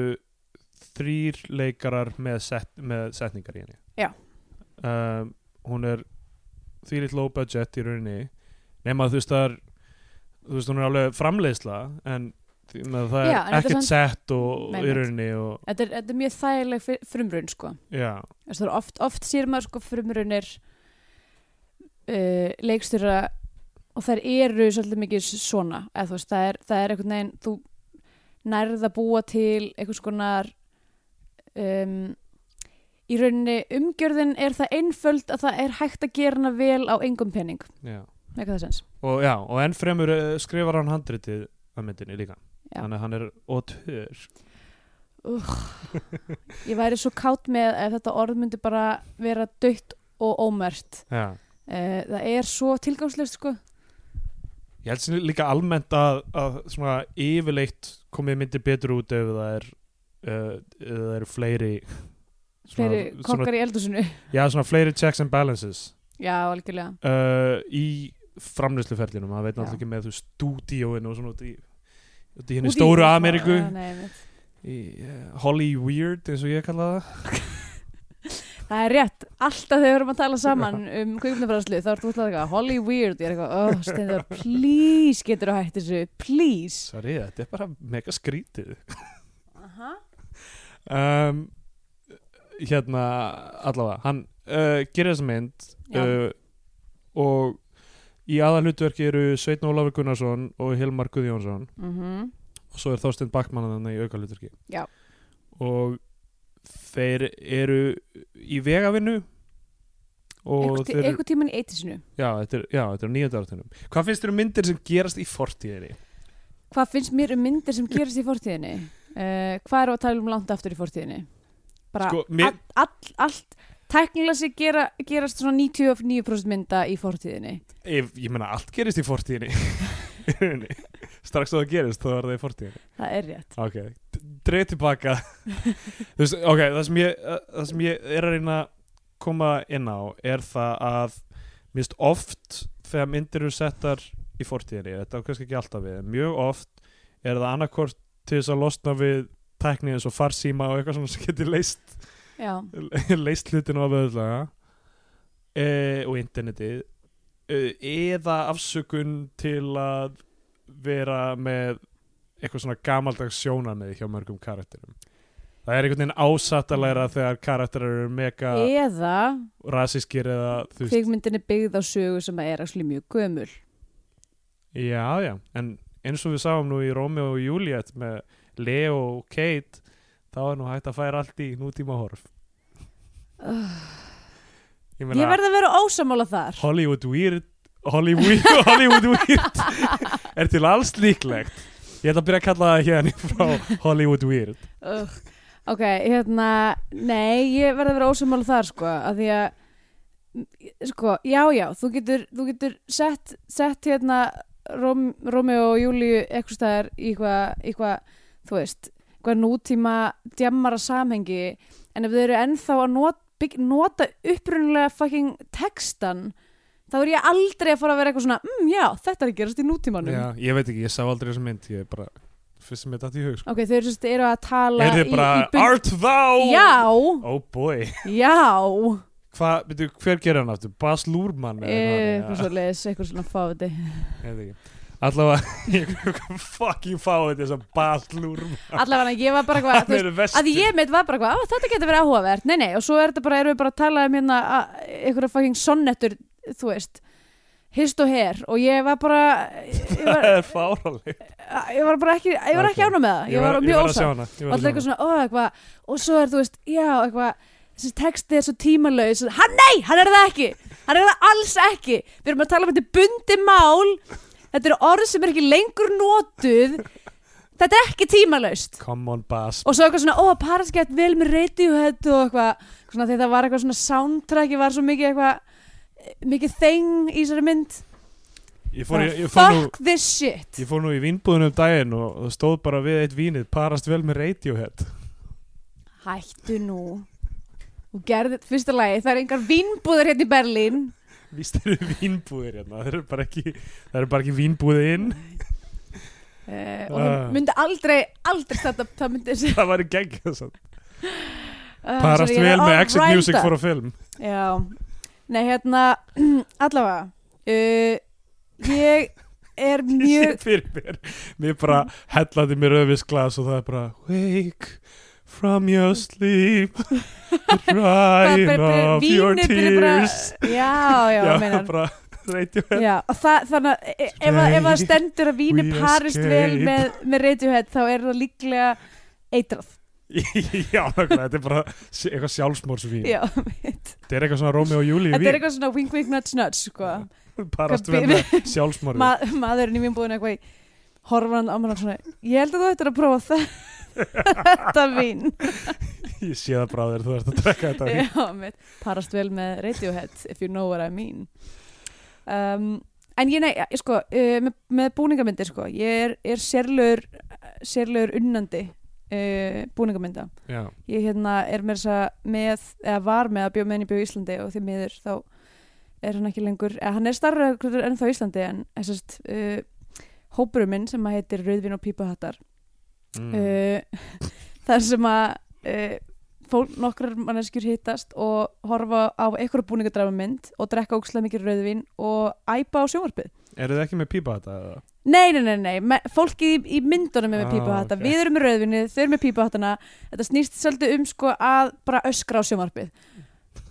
Speaker 3: þrýr leikarar með, set, með setningar í henni
Speaker 2: Já.
Speaker 3: um, hún er þýrill low budget í rauninni nema þú veist það er þú veist hún er alveg framleiðsla en því- með það er
Speaker 2: Já, en þetta er
Speaker 3: ekkert sett og
Speaker 2: Nei,
Speaker 3: í
Speaker 2: mitt.
Speaker 3: rauninni og,
Speaker 2: þetta er, þetta er mjög þægileg fri- frumraun sko
Speaker 3: já,
Speaker 2: Þess, það er oft, oft sér maður sko frumraunir uh, leikstjóra og þær eru svolítið mikið svona eða þú veist, það er, það er einhvern veginn þú nærð að búa til einhvers konar um, í rauninni umgjörðin er það einföld að það er hægt að gera hana vel á engum pening
Speaker 3: já
Speaker 2: eitthvað það sens
Speaker 3: og já, og enn fremur eh, skrifar hann handritið að myndinni líka
Speaker 2: Já.
Speaker 3: þannig að hann er ótör
Speaker 2: ég væri svo kátt með ef þetta orð myndi bara vera dött og ómert
Speaker 3: já
Speaker 2: uh, það er svo tilgangslöst sko
Speaker 3: Ég held sem líka almennt að, að svona yfirleitt komið myndir betur út ef það er uh, ef það eru fleiri
Speaker 2: fleiri
Speaker 3: svona,
Speaker 2: kokkar í eldhúsinu
Speaker 3: já, svona fleiri checks and balances
Speaker 2: já, algjörlega
Speaker 3: uh, í framleysluferlinum maður veit
Speaker 2: Já.
Speaker 3: náttúrulega ekki með þú stúdíóin og svona út í, út í henni
Speaker 2: Út í-
Speaker 3: stóru Ameríku
Speaker 2: Já, nei, einmitt.
Speaker 3: í uh, Holly Weird eins og ég kalla það
Speaker 2: Það er rétt, alltaf þegar við erum að tala saman um kvikmyndafræðslu þá ertu útlæð eitthvað, Holly Weird, ég er eitthvað, oh, Steindor, please getur að hætti þessu, please.
Speaker 3: Sorry, þetta er bara mega skrítið
Speaker 2: Aha.
Speaker 3: um, hérna allavega, hann uh, gerir þessa mynd
Speaker 2: Já,
Speaker 3: uh, og í aðalhutverki eru Sveitn Ólafur Gunnarsson og Hilmar Guðjónsson
Speaker 2: mhm,
Speaker 3: og svo er Þorstein Backmann þannig í aukalhutverki
Speaker 2: Já.
Speaker 3: og þeir eru í vegavinnu og
Speaker 2: einhver, tí,
Speaker 3: þeir,
Speaker 2: einhver tíman í eitisinu.
Speaker 3: já, þetta er, já, þetta er nýjöndarartunum hvað finnst þér um myndir sem gerast í fortíðinni?
Speaker 2: Hvað finnst mér um myndir sem gerast í fortíðinni? Uh, hvað eru að tala um langt aftur í fortíðinni? Bara
Speaker 3: Sko,
Speaker 2: sko,
Speaker 3: mér-
Speaker 2: all, all, allt, tæknilega sér gera, gerast svona 99% mynda í fortíðinni.
Speaker 3: Ég, ég meina allt gerist í fortíðinni Í rauninni. strax þá það gerist þá er það í fortíðinni
Speaker 2: Það er rétt.
Speaker 3: Ok, dreif tilbaka Þú veist, ok, það sem, ég, eh, það sem ég er að reyna að koma inn á er það að mist oft þegar myndir eru settar í fortíðinni, þetta er kannski ekki alltaf við en mjög oft er það annarkort til þess að losna við tækni eins og farsíma og eitthvað svona sem getur leist
Speaker 2: Já,
Speaker 3: leist hlutin á vöðlega e, og interneti e, eða afsökun til að vera með eitthvað svona gamaldags sjónamið hjá mörgum karakterum það er einhvern veginn ásattalæra þegar karakterar eru mega
Speaker 2: E- eða
Speaker 3: rasískir eða þú veist,
Speaker 2: kvikmyndin er byggð á sögu sem er actually mjög gömul.
Speaker 3: já já en eins og við sáum nú í Romeo og Juliet með Leo og Kate þá er nú hægt að færa allt í nútíma horf ég, meina-
Speaker 2: Ég verði að vera ósamála þar
Speaker 3: Hollywood Weird Hollywood, Hollywood Weird er til alls líklegt ég ætla að byrja að kalla það hérna frá Hollywood Weird
Speaker 2: Ugh. Ok, hérna Nei, ég verði að vera ósamála þar sko að því að sko, já, já, þú getur, þú getur sett, sett hérna Róm, Rómeo og Júlíu eitthvað staðar í eitthvað, eitthvað þú veist, eitthvað nútíma djammara samhengi en ef þau eru ennþá að not, bygg, nota upprunalega fucking textan þá er ég aldrei að fara að vera eitthvað svona mm, já, þetta er að gerast í nútímanum
Speaker 3: Já, ég veit ekki, ég sá aldrei þessa mynd ég er bara, fyrst sem ég dætt í hug sko.
Speaker 2: Ok, þau eru, sem sagt- eru að tala
Speaker 3: er þið bara,
Speaker 2: bund-
Speaker 3: art thou
Speaker 2: Já,
Speaker 3: oh boy,
Speaker 2: já
Speaker 3: Hva, byrju, hver gerir hann aftur Bas Lúrmann eða
Speaker 2: Eh, Eitthvað
Speaker 3: hvað
Speaker 2: svo
Speaker 3: hann er?
Speaker 2: leis, eitthvað svona fáti
Speaker 3: Já, ég veit ekki. allavega, ég fucking fáið þess að Bas Lúrmann
Speaker 2: Allavega, ég var bara eitthvað
Speaker 3: hann
Speaker 2: þú veist,
Speaker 3: er vestur
Speaker 2: Að ég mitt var bara eitthvað, "Á, þetta getur verið áhugavert Nei, nei, og svo er þetta bara, erum við bara að tala um hérna að- einhverja fucking sonnettur, þú vett Hist og her Og ég var bara Ég
Speaker 3: það
Speaker 2: var,
Speaker 3: er fáraleg
Speaker 2: ég var bara ekki, ég var ekki
Speaker 3: Ok.
Speaker 2: ánum með það Ég var mjög
Speaker 3: að
Speaker 2: ósátt
Speaker 3: sjá hana ég
Speaker 2: og alltaf
Speaker 3: var að sjá hana.
Speaker 2: eitthvað svona, ó, eitthvað og svo er, þú veist, já, eitthvað þessi texti er svo tímalaus hann, nei, hann er það ekki, hann er það alls ekki við erum að tala um þetta bundi mál þetta eru orð sem er ekki lengur notuð þetta er ekki tímalaust
Speaker 3: come on Bas
Speaker 2: og svo eitthvað svona, ó, Paris gett vel með Radiohead og eitthvað, svona þegar það var eitthvað svona soundtracki var svo mikið eitthvað mikið þeng í þessari mynd
Speaker 3: Ég fór, ég, ég, fór nú,
Speaker 2: fuck this shit
Speaker 3: ég fór nú í vínbúðunum daginn og það stóð bara við eitt vínið parast vel með Radiohead
Speaker 2: hættu nú og gerði, fyrsta lagi, það er engar vinnbúður hérna í Berlín
Speaker 3: Víst eru vínbúðir hérna Það eru bara ekki, það eru bara ekki vínbúði inn
Speaker 2: Mm. uh, og
Speaker 3: Ah.
Speaker 2: hún myndi aldrei, aldrei þetta, það myndi ah, uh,
Speaker 3: Það væri geggjað samt. Parast vel með Exit Music for a Film
Speaker 2: Já, nei hérna allavega uh, ég er
Speaker 3: Ég
Speaker 2: mjög
Speaker 3: sé fyrir mér Mér bara hellaði mér öfisglas og það er bara Wake from your sleep Drying of your
Speaker 2: vínið byrja bara
Speaker 3: tears
Speaker 2: Já, já, já
Speaker 3: Já,
Speaker 2: meinar
Speaker 3: bara Radiohead
Speaker 2: Já, og það, þannig að e- ef, að- ef að stendur að víni
Speaker 3: We
Speaker 2: parist
Speaker 3: escape.
Speaker 2: vel með, með Radiohead þá er það líklega eitrað
Speaker 3: Já, nákvæmlega, þetta er bara s- eitthvað sjálfsmórsvín
Speaker 2: Já, mitt.
Speaker 3: Þetta er eitthvað svona Rómi og Júli
Speaker 2: þetta er eitthvað svona wink wink nuts nuts sko.
Speaker 3: Parast
Speaker 2: hvað
Speaker 3: vel með sjálfsmóri
Speaker 2: Ma maðurinn í mér búin eitthvað í horfan á mér og svona ég held að þú ættir að prófa þetta vín
Speaker 3: Ég sé það bara á þér, þú ert að drekka þetta vín.
Speaker 2: Já, mitt, parast vel með Radiohead if you know what I mean um, En ég, nei, ég sko uh, með, með búningamyndir sko ég er, er sérlegur sérlegur unnandi uh, búningamynda
Speaker 3: Já,
Speaker 2: ég hérna er með þess að með, eða var með að bjóð með henni bjóð í Íslandi og því miður þá er hann ekki lengur, eða hann er starra enn þá í Íslandi en þessast uh, hópurum minn sem að heitir Rauðvin og Pípahattar
Speaker 3: mm.
Speaker 2: uh, þar sem að uh, fólk nokkrar manneskjur hittast og horfa á einhverja búningadrama mynd og drekka ógslag mikið rauðvin og æpa á sjónvarpið.
Speaker 3: eru þið ekki með pípa þetta? eða?
Speaker 2: Nei, nei, nei, nei, me- fólkið í, í myndunum er með
Speaker 3: Ah,
Speaker 2: pípahatta,
Speaker 3: ok.
Speaker 2: við erum með rauðvinni, þau eru með pípahattana, þetta snýst svolítið um sko að bara öskra á sjónvarpið.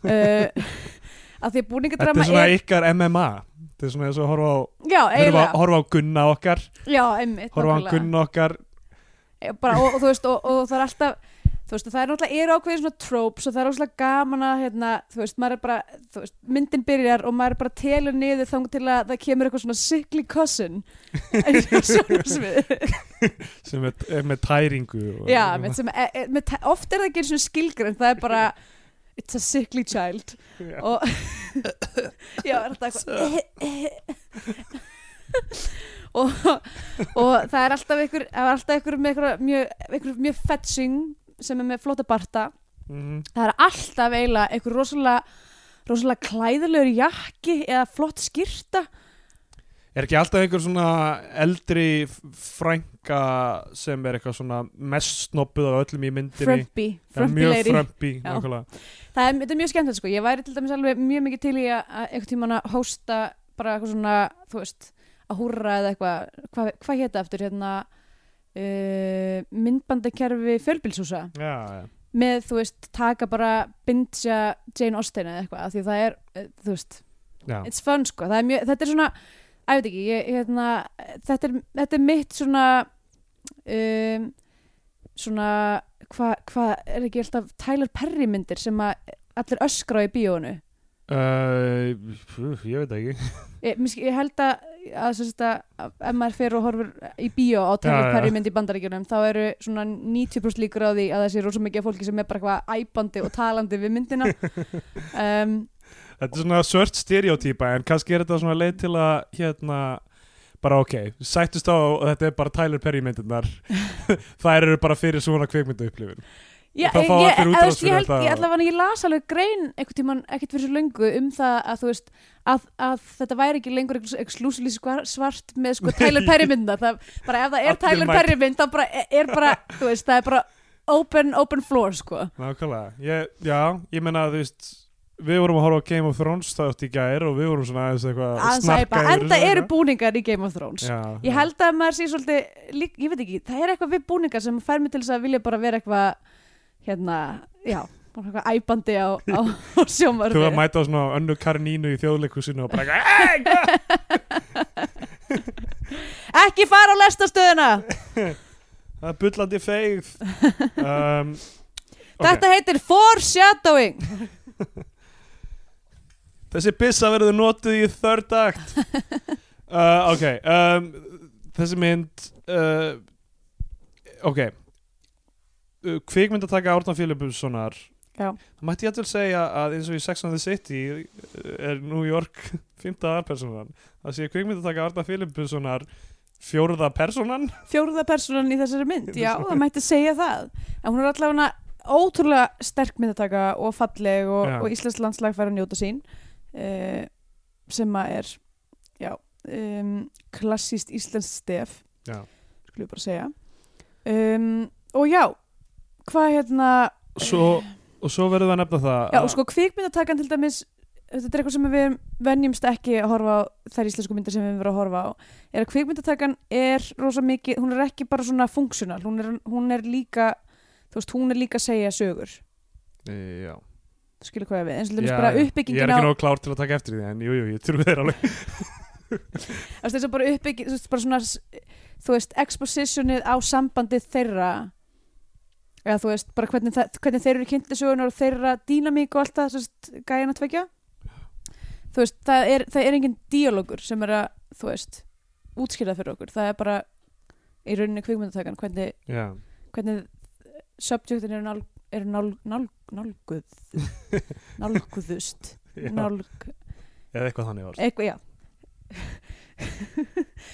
Speaker 2: Uh, að því að
Speaker 3: Þetta
Speaker 2: búningadrama
Speaker 3: er svona ykkar MMA Þetta er svona eins og horfa á,
Speaker 2: já,
Speaker 3: horfa,
Speaker 2: eiginlega,
Speaker 3: horfa á gunna okkar
Speaker 2: já, einmitt,
Speaker 3: Horfa á
Speaker 2: nákvæmlega.
Speaker 3: gunna okkar
Speaker 2: Eh, bara, og, og þú veist og, og það er alltaf þú veist, og það er náttúrulega eru ákveðin svona tropes og það er óslega gaman að hérna, þú veist, maður er bara þú veist, myndin byrjar og maður er bara telur niður þang til að það kemur eitthvað svona sickly cousin eins og sjónarsvið
Speaker 3: sem er, er með tæringu og,
Speaker 2: já, með, sem, e, e, með, ta- oft er það ekki eins og skilgrænt það er bara it's a sickly child
Speaker 3: Já.
Speaker 2: og já, er þetta eitthvað og, og það er alltaf ykkur, það er alltaf ykkur með ykkur mjög, ykkur mjög fetching sem er með flotta barta
Speaker 3: Mhm.
Speaker 2: það er alltaf eiginlega einhver rosalega rosalega klæðilegur jakki eða flott skýrta
Speaker 3: Er ekki alltaf einhver svona eldri f- frænka sem er eitthvað svona mest snobbuð af öllum í myndinni
Speaker 2: frumpi,
Speaker 3: Það er
Speaker 2: frumpi
Speaker 3: mjög
Speaker 2: lady
Speaker 3: frömpi
Speaker 2: Já.
Speaker 3: nákvæmlega.
Speaker 2: það er, þetta er mjög skemmtilegt sko, ég væri til dæmis alveg mjög mikið til í að að einhvern tímann að hósta bara eitthvað svona, þú veist að húrra eða eitthvað, hvað hva hétta eftir hérna uh, myndbandakerfi fjölbílshúsa
Speaker 3: Já, já.
Speaker 2: með, þú veist, taka bara bindja Jane Austen eða eitthvað af því það er, eh, þú veist,
Speaker 3: Já.
Speaker 2: it's fun sko, það er mjög, þetta er svona að ég veit ekki, ég, ég hérna þetta er, þetta er mitt svona um, svona hvað, hva, er ekki alltaf Tyler Perry myndir sem að allir öskra á í bíónu
Speaker 3: Uh, pf, ég veit það ekki
Speaker 2: ég, miski, ég held að, að, sem sagt að, að ef maður fer og horfur í bíó á
Speaker 3: Já,
Speaker 2: Tyler
Speaker 3: já.
Speaker 2: Perry mynd í bandaríkjunum þá eru svona 90% líkur á því að það sé rosa mikið af fólki sem er bara eitthvað æbandi og talandi við myndina um,
Speaker 3: Þetta er svona svört stereotýpa en kannski er þetta svona leið til að hérna, bara ok, sættust á og þetta er bara Tyler Perry myndirnar þær eru bara fyrir svona kvikmyndu upplifun
Speaker 2: Já,
Speaker 3: Þá
Speaker 2: ég, ég,
Speaker 3: fá allir
Speaker 2: eða,
Speaker 3: útrás
Speaker 2: þú veist, ég,
Speaker 3: fyrir
Speaker 2: held,
Speaker 3: þetta
Speaker 2: ég
Speaker 3: og-
Speaker 2: allavega ég las alveg grein einhvern tímann ekkert fyrir svo löngu um það að þú veist að, að þetta væri ekki lengur eksklusíli svart með sko Tyler Perry mynda það, bara ef það er
Speaker 3: Allir
Speaker 2: Tyler
Speaker 3: mæta.
Speaker 2: Perry mynd þá bara e- er- er bara, þú veist, það er bara open, open floor sko
Speaker 3: Nákvæmlega, ég, já, ég meina þú veist við vorum að horfa á Game of Thrones þátt í gær og við vorum svona aðeins eitthvað að
Speaker 2: Aðeins að æpa,
Speaker 3: snarka yfir
Speaker 2: enda
Speaker 3: þessu,
Speaker 2: eru
Speaker 3: eitthvað.
Speaker 2: búningar í Game of Thrones
Speaker 3: Já,
Speaker 2: ég held að maður sé svolítið lík, ég veit ekki, það er eitthvað við búningar sem fær mig til þess að vilja bara vera eitthvað hérna, já, bara eitthvað æpandi á, á, á sjómarfi
Speaker 3: Þú að mæta á svona önnu karnínu í þjóðleikusinu og bara "Ah, eitthvað
Speaker 2: ekki fara á lestastöðuna
Speaker 3: Það er bullandi feigð um,
Speaker 2: Þetta heitir foreshadowing
Speaker 3: Þessi bissa verður notuð í third act uh, Ok um, Þessi mynd uh, Ok uh, Kvikmyndataka Árna Filipussonar
Speaker 2: Já.
Speaker 3: það mætti ég alltaf segja að eins og í Sex and the City er New York fymta aðarpersonan það sé kvikmynd að taka Arda Filipussonar fjórða personan
Speaker 2: fjórða persónan í þessari mynd
Speaker 3: Í
Speaker 2: já,
Speaker 3: þessari-
Speaker 2: það mætti segja það en hún er allavega ótrúlega sterk myndataka og falleg og,
Speaker 3: Já.
Speaker 2: og Íslands landslag fær að njóta sín uh, sem að er já, um, klassíst Íslands stef
Speaker 3: Já.
Speaker 2: skulum við bara segja um, og já, hvað hérna
Speaker 3: svo, og svo verður það að nefna það
Speaker 2: já, og sko kvikmyndatakan til dæmis þetta er eitthvað sem við venjumst ekki að horfa á þær íslensku myndar sem við höfum verið að horfa á er að kvikmyndatakan er rosa mikið, hún er ekki bara svona funksjonal, hún, er- hún er líka þú veist, hún er líka að segja sögur
Speaker 3: Eh, já.
Speaker 2: þú skilur hvað ég á við, eins og til
Speaker 3: Já,
Speaker 2: dæmis bara
Speaker 3: já. ég er
Speaker 2: uppbyggingin á
Speaker 3: ekki nóg klár til að taka eftir því en jújú, jú, ég trúi þeir alveg
Speaker 2: Þú veist, þess að bara uppbygging, þú veist, bara svona s- þú veist, expositionið á sambandið þeirra eða þú veist, bara hvernig, það, hvernig þeir eru kynntisögunar og þeirra dýnamík og allt það, þú veist, gæjan að tvekja þú veist, það er, það er engin díalógur sem er að, þú veist útskýrað fyrir okkur, það er bara í rauninni kvikmyndatakan, hvernig
Speaker 3: já,
Speaker 2: hvernig subjectin eru nál, er nál, nál, nálguð nálguðust
Speaker 3: já.
Speaker 2: nálg,
Speaker 3: eða eitthvað þannig orð
Speaker 2: eitthvað, já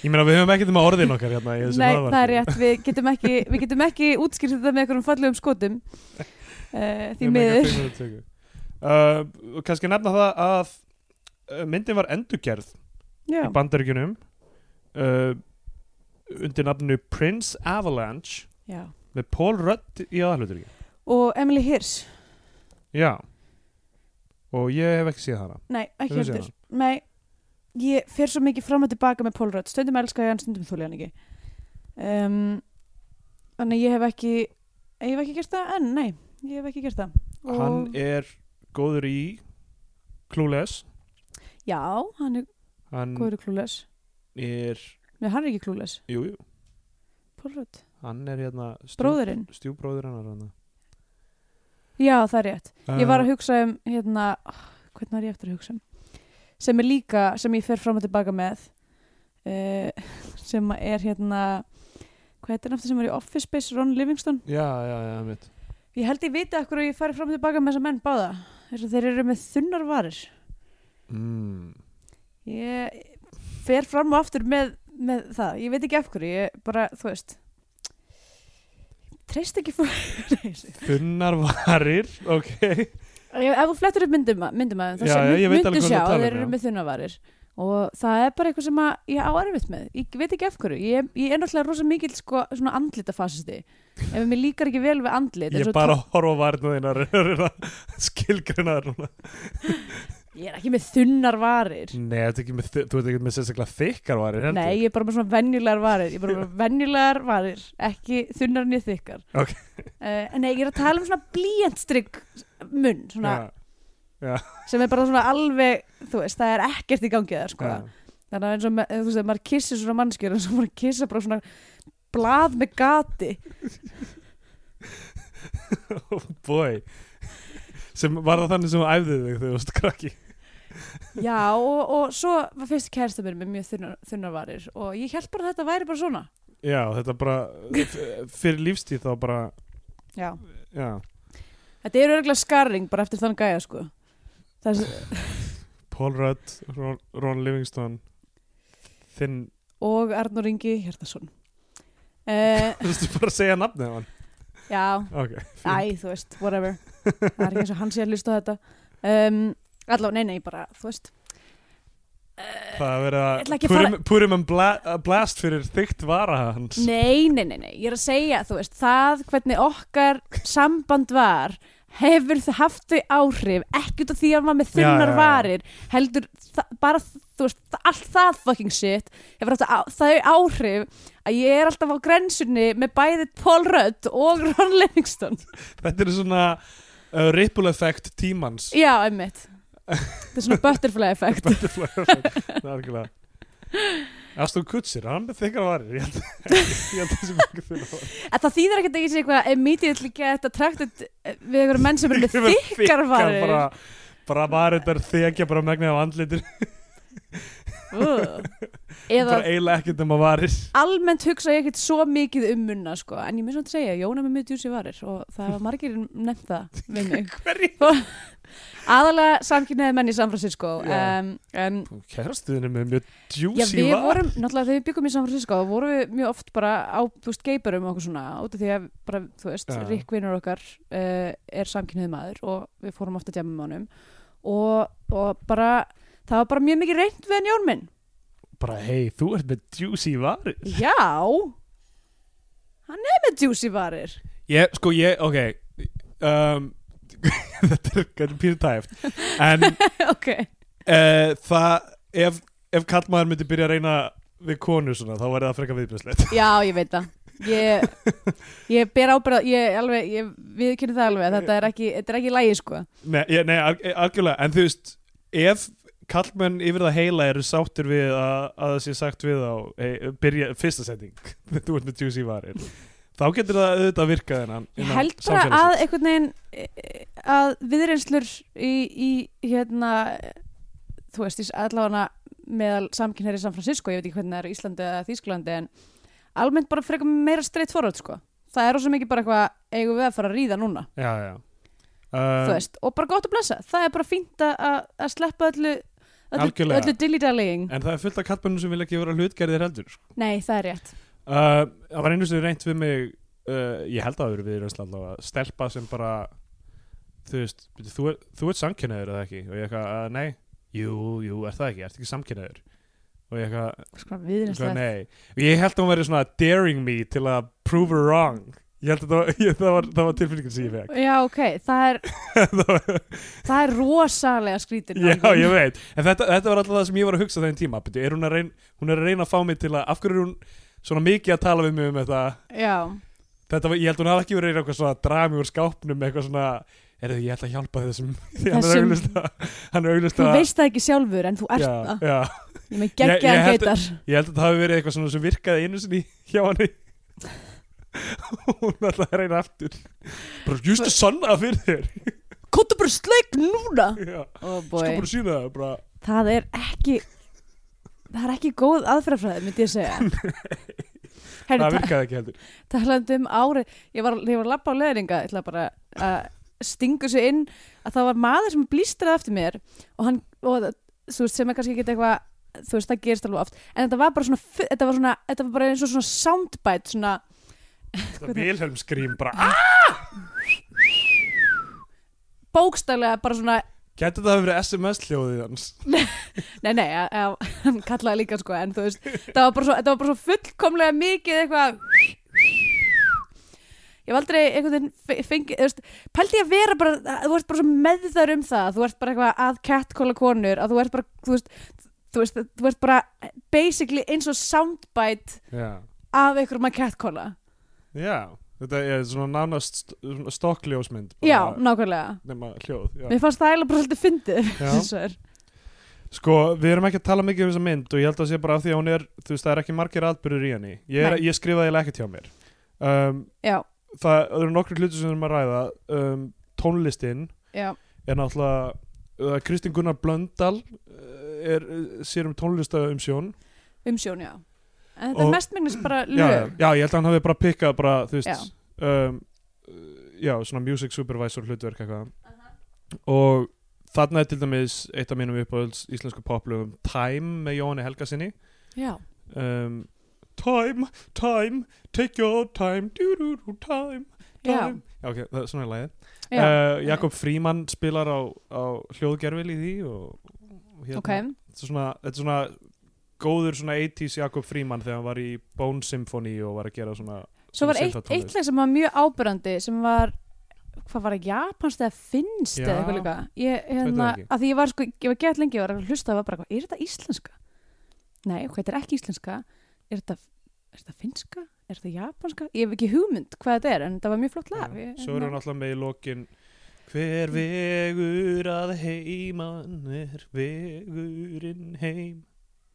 Speaker 3: ég meina við höfum ekkert um að orðin okkar hérna í þessu
Speaker 2: Nei,
Speaker 3: hlaðvarpi.
Speaker 2: það er rétt, við getum ekki, við getum ekki útskýrt þetta með einhverjum fallegum skotum uh,
Speaker 3: Við
Speaker 2: því
Speaker 3: höfum enga
Speaker 2: miður
Speaker 3: kvikmyndatöku. Uh, og kannski nefna það að uh, myndin var endurgerð
Speaker 2: Já,
Speaker 3: í bandaríkjunum uh, undir nafnu Prince Avalanche
Speaker 2: já.
Speaker 3: með Paul Rudd í aðalhuturíki
Speaker 2: Og Emily Hirsch,
Speaker 3: já og ég hef ekki séð hana
Speaker 2: nei, ekki
Speaker 3: Hefurðu séð
Speaker 2: heldur Nei, ég fer svo mikið fram og tilbaka með Paul Rudd, stundum elska ég hann, stundum þúli hann ekki um, Þannig að ég hef ekki ég hef ekki gert það enn, nei ég hef ekki gert það og,
Speaker 3: hann er góður í Clueless
Speaker 2: Já, hann er
Speaker 3: hann
Speaker 2: góður klúles
Speaker 3: er
Speaker 2: Nei, hann er ekki klúles,
Speaker 3: jú, jú,
Speaker 2: Paul Rudd,
Speaker 3: hann er hérna stjú,
Speaker 2: bróðurinn
Speaker 3: stjúbróður hennar hann
Speaker 2: Já, það er rétt Ég
Speaker 3: Uh.
Speaker 2: var að hugsa um hérna, ah, hvernig var ég eftir að hugsa um sem er líka, sem ég fer fram og tilbaka með uh, sem að er hérna hvað heitir hann aftur sem var í Office Space Ron Livingston
Speaker 3: já, já, já, mitt
Speaker 2: ég held ég vita ekkur að ég fari fram og tilbaka með þessa menn báða þess að þeir eru með þunnar varir
Speaker 3: mm.
Speaker 2: ég fer fram og aftur með, með það, ég veit ekki af hverju ég bara, þú veist treyst ekki fólk Nei,
Speaker 3: Gunnar varir, ok
Speaker 2: Ef ef þú flettur upp myndum, myndum að
Speaker 3: Já, já, ég
Speaker 2: þeim, þá
Speaker 3: veit alveg hvað þú
Speaker 2: myndu sjá
Speaker 3: ert að
Speaker 2: að
Speaker 3: tala
Speaker 2: þeir
Speaker 3: um,
Speaker 2: eru
Speaker 3: já.
Speaker 2: með þunnavarir og það er bara eitthvað sem að ég á erfitt með, ég veit ekki af hverju ég, ég er náttúrulega rosa mikill sko, svona andlitafasisti ef mér líkar ekki vel við andlit
Speaker 3: Ég
Speaker 2: eins
Speaker 3: er
Speaker 2: og
Speaker 3: bara að horfa á varna þínar skilgrinnaðar núna
Speaker 2: tó- ég er ekki með þunnar varir
Speaker 3: Nei, þetta er ekki með, þú veit ekki með sérstaklega þykkar varir heldur.
Speaker 2: nei, ég er bara með svona venjulegar varir ég er bara með venjulegar varir, ekki þunnar nýð þykkar
Speaker 3: Ok.
Speaker 2: Eh, en nei, ég er að tala um svona blíjantstrygg munn, svona, sem er bara svona alveg þú veist, það er ekkert í gangið það sko. þannig að eins og með, þú veist, ef maður kissir svona mannskjur eins og maður kissa bara svona blað með gati
Speaker 3: Oh boy sem var það þannig sem þú æfði þig þegar þú varst krakki
Speaker 2: já og, og svo var fyrst kærsta mér með mjög þunnar, þunnar varir og ég held bara að þetta væri bara svona
Speaker 3: Já, þetta bara f- fyrir lífstíð þá bara
Speaker 2: já.
Speaker 3: já,
Speaker 2: þetta eru örgulega skarring bara eftir þann gæja sko Þess,
Speaker 3: Paul Rudd, Ron, Ron Livingston þinn,
Speaker 2: og Arnur Ingi Hjartason uh,
Speaker 3: þú veist bara að segja nafnið á hann
Speaker 2: já,
Speaker 3: Ok,
Speaker 2: æ, þú veist, whatever það er ekki eins og hann sé að hlusta á þetta um, allavega, nei, nei, bara, þú veist Eh,
Speaker 3: það er verið
Speaker 2: Ég ætla
Speaker 3: að
Speaker 2: ekki að fara-
Speaker 3: purum, purum en bla, að blast fyrir þygt vara hans
Speaker 2: Nei, nei, nei, nei, ég er að segja, þú veist, það hvernig okkar samband var hefur það haft þau áhrif, ekki út af því að maður með
Speaker 3: Já,
Speaker 2: þunnar
Speaker 3: já, já.
Speaker 2: varir, heldur það, bara, þú veist, það- allt það fucking shit hefur haft á- þau áhrif að ég er alltaf á grensunni með bæði Paul Rudd og Ron Livingston.
Speaker 3: Þetta er svona uh, ripple effect tímans
Speaker 2: Já, einmitt. Það er svona butterfly effect.
Speaker 3: Butterfly effect, nærkulega Aston Kutcher, hann er þykkar varir Ég held ég held þessi mjög þykkar varir
Speaker 2: En það þýðir ekkert ekki sé eitthvað immediately get attracted við einhverjum menn sem eru með þykkar varir.
Speaker 3: Bara, bara varir þær þekja bara megnið af andlitir
Speaker 2: Ugh.
Speaker 3: bara
Speaker 2: eða
Speaker 3: eiginlega ekkert um að varir
Speaker 2: almennt hugsa ég ekkert svo mikið um munna sko. en ég mér svona að segja, Jóna með mjög djúsi varir og það hafa margir nefnt það við mig
Speaker 3: Hverjir?
Speaker 2: aðalega samkynnaði menn í San Francisco
Speaker 3: Já.
Speaker 2: um, en
Speaker 3: Kærastuðinu með mjög
Speaker 2: já,
Speaker 3: djúsi
Speaker 2: við
Speaker 3: var
Speaker 2: vorum, náttúrulega þegar við byggum í San Francisco þá vorum við mjög oft bara á þú veist, geiparum og okkur svona út af því að bara, þú veist,
Speaker 3: Já.
Speaker 2: Rick vinnur okkar uh, er samkynnaði maður og við fórum oft að djama með honum og, og bara það var bara mjög mikið reynd við hann Jón minn
Speaker 3: Bara hei, þú ert með djúsi varir
Speaker 2: já hann er með djúsi varir
Speaker 3: Ég, sko, ég, ok um, Þetta er gæti pínu tæft En
Speaker 2: ok
Speaker 3: uh, það Ef, ef kallmaður myndi byrja að reyna við konu svona, þá væri það frekar viðbjörnslegt
Speaker 2: Já, ég veit það Ég, ég ber ábyrða ég, alveg, ég viðkynni það alveg að þetta er ekki, þetta er ekki lægi sko
Speaker 3: Nei, ég- nei alg- algjörlega, en þú veist ef kallmenn yfir það heila eru sáttir við að, að það sé sagt við á hey, byrja, fyrsta setning þú ert með djúsi varir þá getur það auðvitað virkað innan,
Speaker 2: Ég
Speaker 3: innan
Speaker 2: held bara að
Speaker 3: samfélagsins.
Speaker 2: einhvern veginn eh, að viðreinslur í, í hérna þú veist, í- allavega meðal samkynhæri San Francisco, ég veit ekki hvernig það er í Íslandi eða Þýsklandi en almennt bara frekar meira streitt forröld sko það er rosa mikið bara eitthvað eigum við að fara að ríða núna
Speaker 3: Já, já
Speaker 2: þú
Speaker 3: Uh,
Speaker 2: veist, og bara gott að blessa það er bara fínt að- að að sleppa öllu öllu,
Speaker 3: Algjörlega. Eh.
Speaker 2: öllu dillidaleging
Speaker 3: en það er fullt af kallmennum sem vil ekki vera hlutgerðir heldur sko.
Speaker 2: nei, það er rétt
Speaker 3: Uh, það var einu sem reynt við mig uh, ég held að það eru við reynsla allavega stelpa sem bara þú veist, "Bíddu, þú, er, þú ert samkynnaður eða ekki og ég eitthvað, uh, nei, jú, jú, er það ekki ert ekki samkynnaður og ég eitthvað, eitthvað,
Speaker 2: viðreinslegt
Speaker 3: nei og ég held að hún væri svona daring me til að prove her wrong ég held að það var, ég, það var, það var tilfinningin sem ég fekk
Speaker 2: Já, ok, það er,
Speaker 3: Það var-
Speaker 2: það er rosalega skrítin
Speaker 3: já,
Speaker 2: nálgun.
Speaker 3: ég veit, en þetta, þetta var alltaf það sem ég var að hugsa þenn tíma, Bíddu, er hún, að reyna, hún er að reyna að fá mig til að, af hverju er hún svona mikið að tala við mig um þetta
Speaker 2: Já,
Speaker 3: Þetta var, ég held hún hafði ekki verið að reyna eitthvað svona að draga mig úr skápnum með eitthvað svona er þetta, ég ætla að hjálpa þessum því hann er
Speaker 2: Þessum-
Speaker 3: auglust að hann er auglust
Speaker 2: þú
Speaker 3: að
Speaker 2: veist það ekki sjálfur en þú ert
Speaker 3: já,
Speaker 2: það
Speaker 3: já,
Speaker 2: Ég með
Speaker 3: Ég-
Speaker 2: geggja
Speaker 3: ég
Speaker 2: að
Speaker 3: held-
Speaker 2: geitar
Speaker 3: ég held að það hafi verið eitthvað svona sem virkaði einu sinni hjá hann hún ætlaði að reyna aftur bara just að sanna það fyrir þér
Speaker 2: Kóttu bara sleik núna
Speaker 3: já,
Speaker 2: oh
Speaker 3: sko
Speaker 2: boy.
Speaker 3: bara sína það bara,
Speaker 2: Það er ekki Það er ekki góð aðferðafræði, myndi ég segja Herri,
Speaker 3: það virkaði ekki heldur
Speaker 2: talandi um árið ég var, ég var að labba á leðringa ég ætla bara að stingu sér inn að það var maður sem blístraði eftir mér og hann, og, þú veist, sem er kannski ekki eitthvað þú veist, það gerist alveg oft en þetta var bara svona, fu- þetta var svona, þetta var bara eins og svona soundbite, svona
Speaker 3: það Vilhelm skrým bara, ah!
Speaker 2: bókstælega bara svona,
Speaker 3: getur það hafi verið SMS hljóðið hans
Speaker 2: nei, nei, að- að- hann kallaði líka sko, en þú veist það var bara svo, þetta var bara svo fullkomlega mikið eitthvað ég var aldrei einhvern veginn fe- fengið, þú veist, pældi ég að vera bara að þú ert bara svo meðþar um það þú ert bara eitthvað að catcalla konur að þú ert bara, þú veist þú veist, þú ert bara basically eins og soundbite
Speaker 3: já,
Speaker 2: af einhverjum að catcalla
Speaker 3: já, þetta er svona nánast st- svona stokkljósmynd bara
Speaker 2: já, nákvæmlega
Speaker 3: nema hljóð já.
Speaker 2: mér fannst það eiginlega bara svolítið fyndið
Speaker 3: Já.
Speaker 2: hins vegar.
Speaker 3: Sko, við erum ekki að tala mikið um þessa mynd og ég held að sé bara af því að hún er, þú veist, það er ekki margir atbyrður í henni. Ég, er,
Speaker 2: Nei.
Speaker 3: ég skrifaði eiginlega ekkert hjá mér. Um,
Speaker 2: já,
Speaker 3: það það eru nokkru hluti sem við erum að ræða. Um, tónlistin
Speaker 2: já,
Speaker 3: er náttúrulega, uh, Kristín Gunnar Blöndal uh, er, uh, sér um tónlista um sjón.
Speaker 2: umsjón, já en þetta
Speaker 3: Og-
Speaker 2: er mest mengnis bara
Speaker 3: Já, já,
Speaker 2: lög
Speaker 3: já, ég held að hann hafi bara pikkað bara, þú veist, um, uh, já, svona music supervisor hlutverk eitthvað. Og þarna er til dæmis eitt af mínum uppáhalds íslensku poplögum Time með Jóni Helgasinni.
Speaker 2: já,
Speaker 3: um, Time, time, take your time do do do time,
Speaker 2: já,
Speaker 3: time Já, ok, það er svona í lagið
Speaker 2: já.
Speaker 3: uh, Jakob Fríman spilar á, á hljóðgerfil í því og, og hérna,
Speaker 2: ok,
Speaker 3: þetta, er svona, þetta er svona góður svona 80s Jakob Fríman þegar hann var í Bone Symphony og var að gera svona
Speaker 2: svo var
Speaker 3: sem
Speaker 2: eitt,
Speaker 3: syntatónlist.
Speaker 2: eitt lag sem var mjög ábyrrandi sem var, hvað var það, japanskt eða finnst
Speaker 3: Já,
Speaker 2: eða eitthvað líka ég, hérna,
Speaker 3: það ekki.
Speaker 2: að því ég var sko, ég var gett lengi ég var að hlusta og var bara, eitthvað, er þetta íslenska? nei, hvað þetta er ekki íslenska er þetta, er þetta finnska? er þetta japanska? ég hef ekki hugmynd hvað þetta er en þetta var mjög flott lag
Speaker 3: Já,
Speaker 2: Ég-
Speaker 3: Svo er hann
Speaker 2: hérna-
Speaker 3: alltaf með í lokin Hver vegur að heiman er vegurinn heim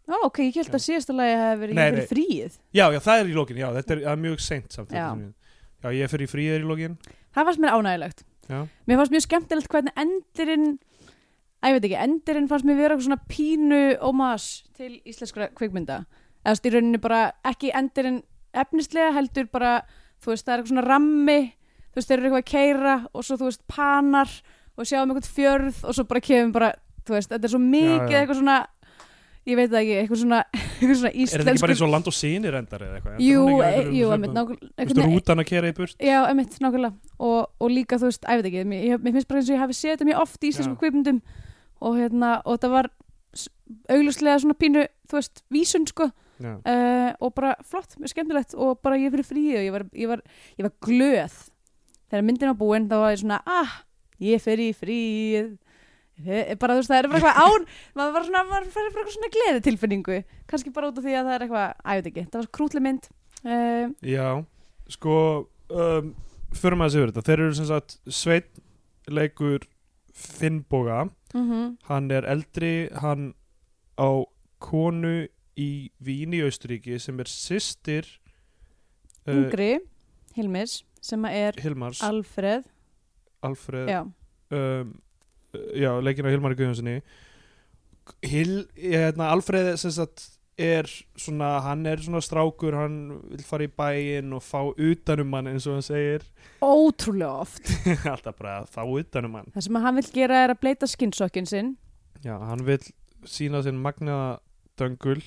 Speaker 2: ó, ok, ég held að síðasta lagi hef verið
Speaker 3: Nei,
Speaker 2: ég fyrir fríið
Speaker 3: Já, já, það er í lokin, já, þetta er, það er mjög seint samt
Speaker 2: Já.
Speaker 3: þetta sem ég- Já, ég fer í fríðir í lokin
Speaker 2: það fannst mér ánægilegt
Speaker 3: Já,
Speaker 2: mér fannst mjög skemmtilegt hvernig endurinn Æ, ég veit ekki, endirinn fannst mér vera eitthvað svona pínu ómas til íslenskra kvikmynda eða þú veist, í rauninni bara ekki endirinn efnislega heldur bara þú veist, það er eitthvað svona rammi þú veist, þeir eru eitthvað að keira og svo þú veist, panar og sjáum eitthvað fjörð og svo bara kemur bara, þú veist, þetta er svo mikið
Speaker 3: já.
Speaker 2: eitthvað svona ég veit það ekki, eitthvað svona, eitthvað svona
Speaker 3: Er þetta ekki
Speaker 2: íslenskur
Speaker 3: bara eins og land og sinir endar eða eitthvað?
Speaker 2: Jú,
Speaker 3: Endar
Speaker 2: e,
Speaker 3: hún ekki á einhverjum
Speaker 2: jú, emitt,
Speaker 3: svona- Þú veist,
Speaker 2: nákvæmlega
Speaker 3: rútan að kera í burt
Speaker 2: Já, emitt, nákvæmlega og, og líka, þú veist, æ, ég veit ekki mér, ég- mér finnst bara eins og ég hafi séð þetta mjög oft í íslensku
Speaker 3: Já.
Speaker 2: kveipundum og hérna, og það var s- augljóslega svona pínu, þú veist, vísun sko,
Speaker 3: Já,
Speaker 2: uh, og bara flott, mjög skemmtilegt og bara ég fyrir fríi og ég var, ég var, ég var glöð þegar myndin var búin, þá var ég svona ah, ég fyrir í fríið Eh, bara þú veist, það er bara eitthvað án maður var svona, maður fyrir bara eitthvað svona gleði tilfinningu kannski bara út af því að það er eitthvað að ég veit ekki, það var krútli mynd uh,
Speaker 3: já sko um, Fyrir maður sér verið þetta Þeir eru sem sagt Sveinn leikur Finnboga
Speaker 2: mm
Speaker 3: Hann er eldri Hann á konu í Vín í Austuríki sem er systir uh,
Speaker 2: Ungri Hilmis, sem að er
Speaker 3: Hilmars
Speaker 2: Alfred
Speaker 3: Alfred
Speaker 2: já,
Speaker 3: um, Já, leikinn á Hilmari Guðjónssoni Hil, hérna, Alfred sem sagt er svona, hann er svona strákur hann vil fara í bæinn og fá utanum hann eins og hann segir
Speaker 2: ótrúlega oft
Speaker 3: alltaf bara að fá utanum hann
Speaker 2: það sem að hann vil gera er að bleita skinnsokkin sinn
Speaker 3: já, hann vil sína sinn magnaða döngul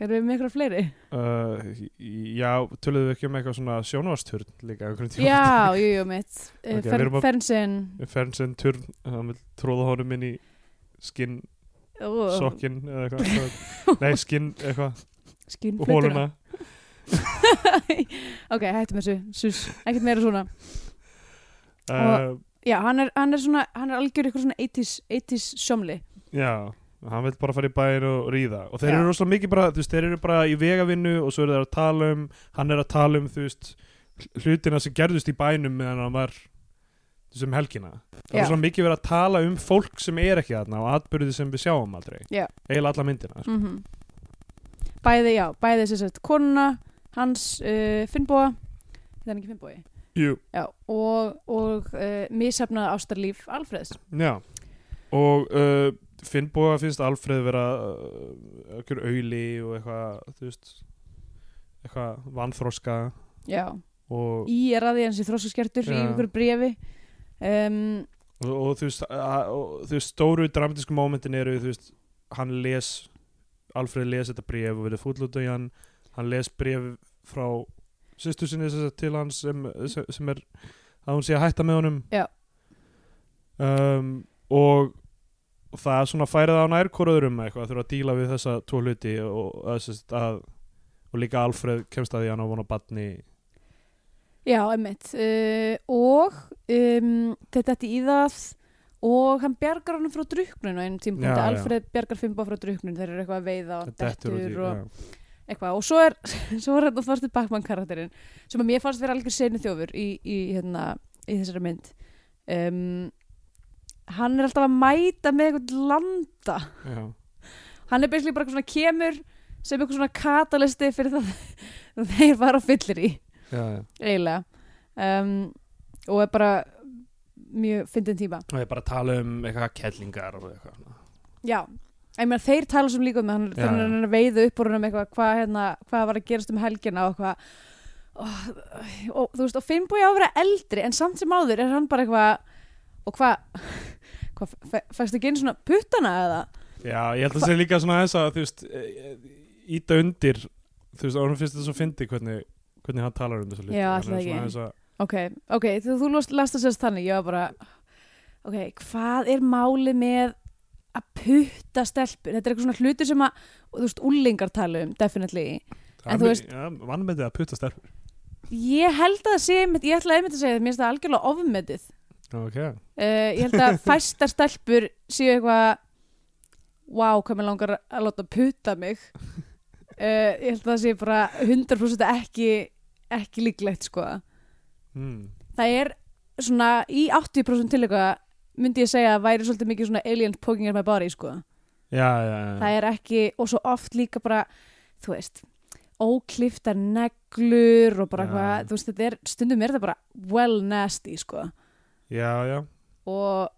Speaker 2: erum við með ykkur fleiri?
Speaker 3: uh, já, töluðum við ekki um eitthvað svona sjónvasturn líka einhvern tímann?
Speaker 2: Já, jú, jú, mitt
Speaker 3: Ok, við erum
Speaker 2: okay,
Speaker 3: að-
Speaker 2: Fernsinn
Speaker 3: Fernsinn turn, hann vil tróða honum inn í skinn,
Speaker 2: Ú,
Speaker 3: sokkin eða eitthvað nei, skinn, eitthvað,
Speaker 2: Skinnflötuna
Speaker 3: hóluna
Speaker 2: Ok, hættum þessu, sus, ekkert meira svona
Speaker 3: uh,
Speaker 2: Já, hann er, hann er svona, hann er algjör ykkur svona 80s, 80s sjómli
Speaker 3: já, hann vil bara fara í bæinn og ríða og þeir
Speaker 2: Já.
Speaker 3: eru rosalega mikið bara, þú veist, þeir eru bara í vegavinnu og svo eru þeir að tala um hann er að tala um, þú veist hlutina sem gerðust í bænum meðan hann var þú veist, um helgina það
Speaker 2: Já.
Speaker 3: er svona mikið verið að tala um fólk sem er ekki þarna og atbyrði sem við sjáum aldrei
Speaker 2: Já.
Speaker 3: eiginlega alla myndina sko.
Speaker 2: mm Bæði, já, bæði sem sagt konuna, hans uh, Finnbóa, þetta er ekki Finnbói
Speaker 3: Jú.
Speaker 2: Já, og, og uh, misafnað ástarlíf Alfreðs
Speaker 3: Já. og uh, Finnbóa finnst Alfreð vera uh, okkur auðli og eitthvað þú veist eitthvað vanþroska
Speaker 2: Já,
Speaker 3: og,
Speaker 2: í er að því hans í þróskaskertur í
Speaker 3: Já.
Speaker 2: ykkur bréfi um,
Speaker 3: og, og þú veist, að, og, þú veist stóru dramatísku mómentin eru þú veist, hann les Alfreð les þetta bréf og verið fúllúta í hann hann les bréf frá sýstu sinni sem sagt til hans sem, sem, sem er að hún sé að hætta með honum
Speaker 2: Já.
Speaker 3: um, og og það svona færið á nærkoröðurum eitthvað þurfa að díla við þessa tvo hluti og, að, sem sagt, að, og líka Alfreð kemst að því að hann á vona batni
Speaker 2: Já, emmitt uh, og um, þetta ætti í það og hann bjargar honum frá druknun á einum tímpunkti,
Speaker 3: Já, já.
Speaker 2: Alfred bjargar Fimbo frá druknun, þeir eru eitthvað að veiða og
Speaker 3: dettur út í-
Speaker 2: dettur og
Speaker 3: já.
Speaker 2: eitthvað og svo er, svo er þetta þorstur bakmann karakterinn sem að mér fannst vera algjör senu þjófur í, í, hérna, í þessari mynd um, hann er alltaf að mæta með eitthvað landa
Speaker 3: Já.
Speaker 2: hann er basically bara eitthvað svona kemur sem eitthvað svona katalisti fyrir það þeir var á fyllir í
Speaker 3: Já, já.
Speaker 2: eiginlega um, og er bara mjög fyndin tíma
Speaker 3: og ég bara tala um eitthvað kellingar og eitthvað svona.
Speaker 2: já, en meðan þeir tala sem líka um það hann-
Speaker 3: Já,
Speaker 2: þegar
Speaker 3: já.
Speaker 2: hann er að veiða upp úr hann um eitthvað hvað, hérna, hvað var að gerast um helgina og hvað og, og þú veist, og Finnbúi á að vera eldri en samt sem áður er hann bara eitthvað og hvað hvað, fe- fæstu ekki einu svona puttana eða
Speaker 3: Já, ég held að segja líka svona þess að þú veist, íta undir þú veist, orðum fyrst þetta svo fyndi hvernig, hvernig hann talar um þessu hluti
Speaker 2: Já,
Speaker 3: Hann er
Speaker 2: ætli það
Speaker 3: svona
Speaker 2: ekki.
Speaker 3: aðeins að-
Speaker 2: ok, ok, þú, þú last, last að sérst þannig ég var bara, ok, hvað er máli með að putta stelpur, þetta er eitthvað svona hlutur sem að, þú veist, úlingar tala um definitely, En
Speaker 3: hann
Speaker 2: þú
Speaker 3: er-
Speaker 2: veist-
Speaker 3: ja, Vannmetið að putta stelpur
Speaker 2: ég held að það sé einmitt- ég ætla einmitt að segja það, mér finnst það algjörlega ofmetið
Speaker 3: okay.
Speaker 2: uh, ég held að fæstar stelpur séu eitthvað wow, hvað mér langar að láta puta mig uh, ég held að það sé bara 100% ekki ekki líklegt sko
Speaker 3: mm.
Speaker 2: það er svona í 80% til eitthvað myndi ég segja að væri svolítið mikið svona aliens poking at my body sko
Speaker 3: Já, já, já
Speaker 2: það er ekki, og svo oft líka bara þú veist, ókliftar neglur og bara
Speaker 3: Já.
Speaker 2: hvað þú veist, þetta er, stundum er þetta bara well nasty sko
Speaker 3: Já, já,
Speaker 2: og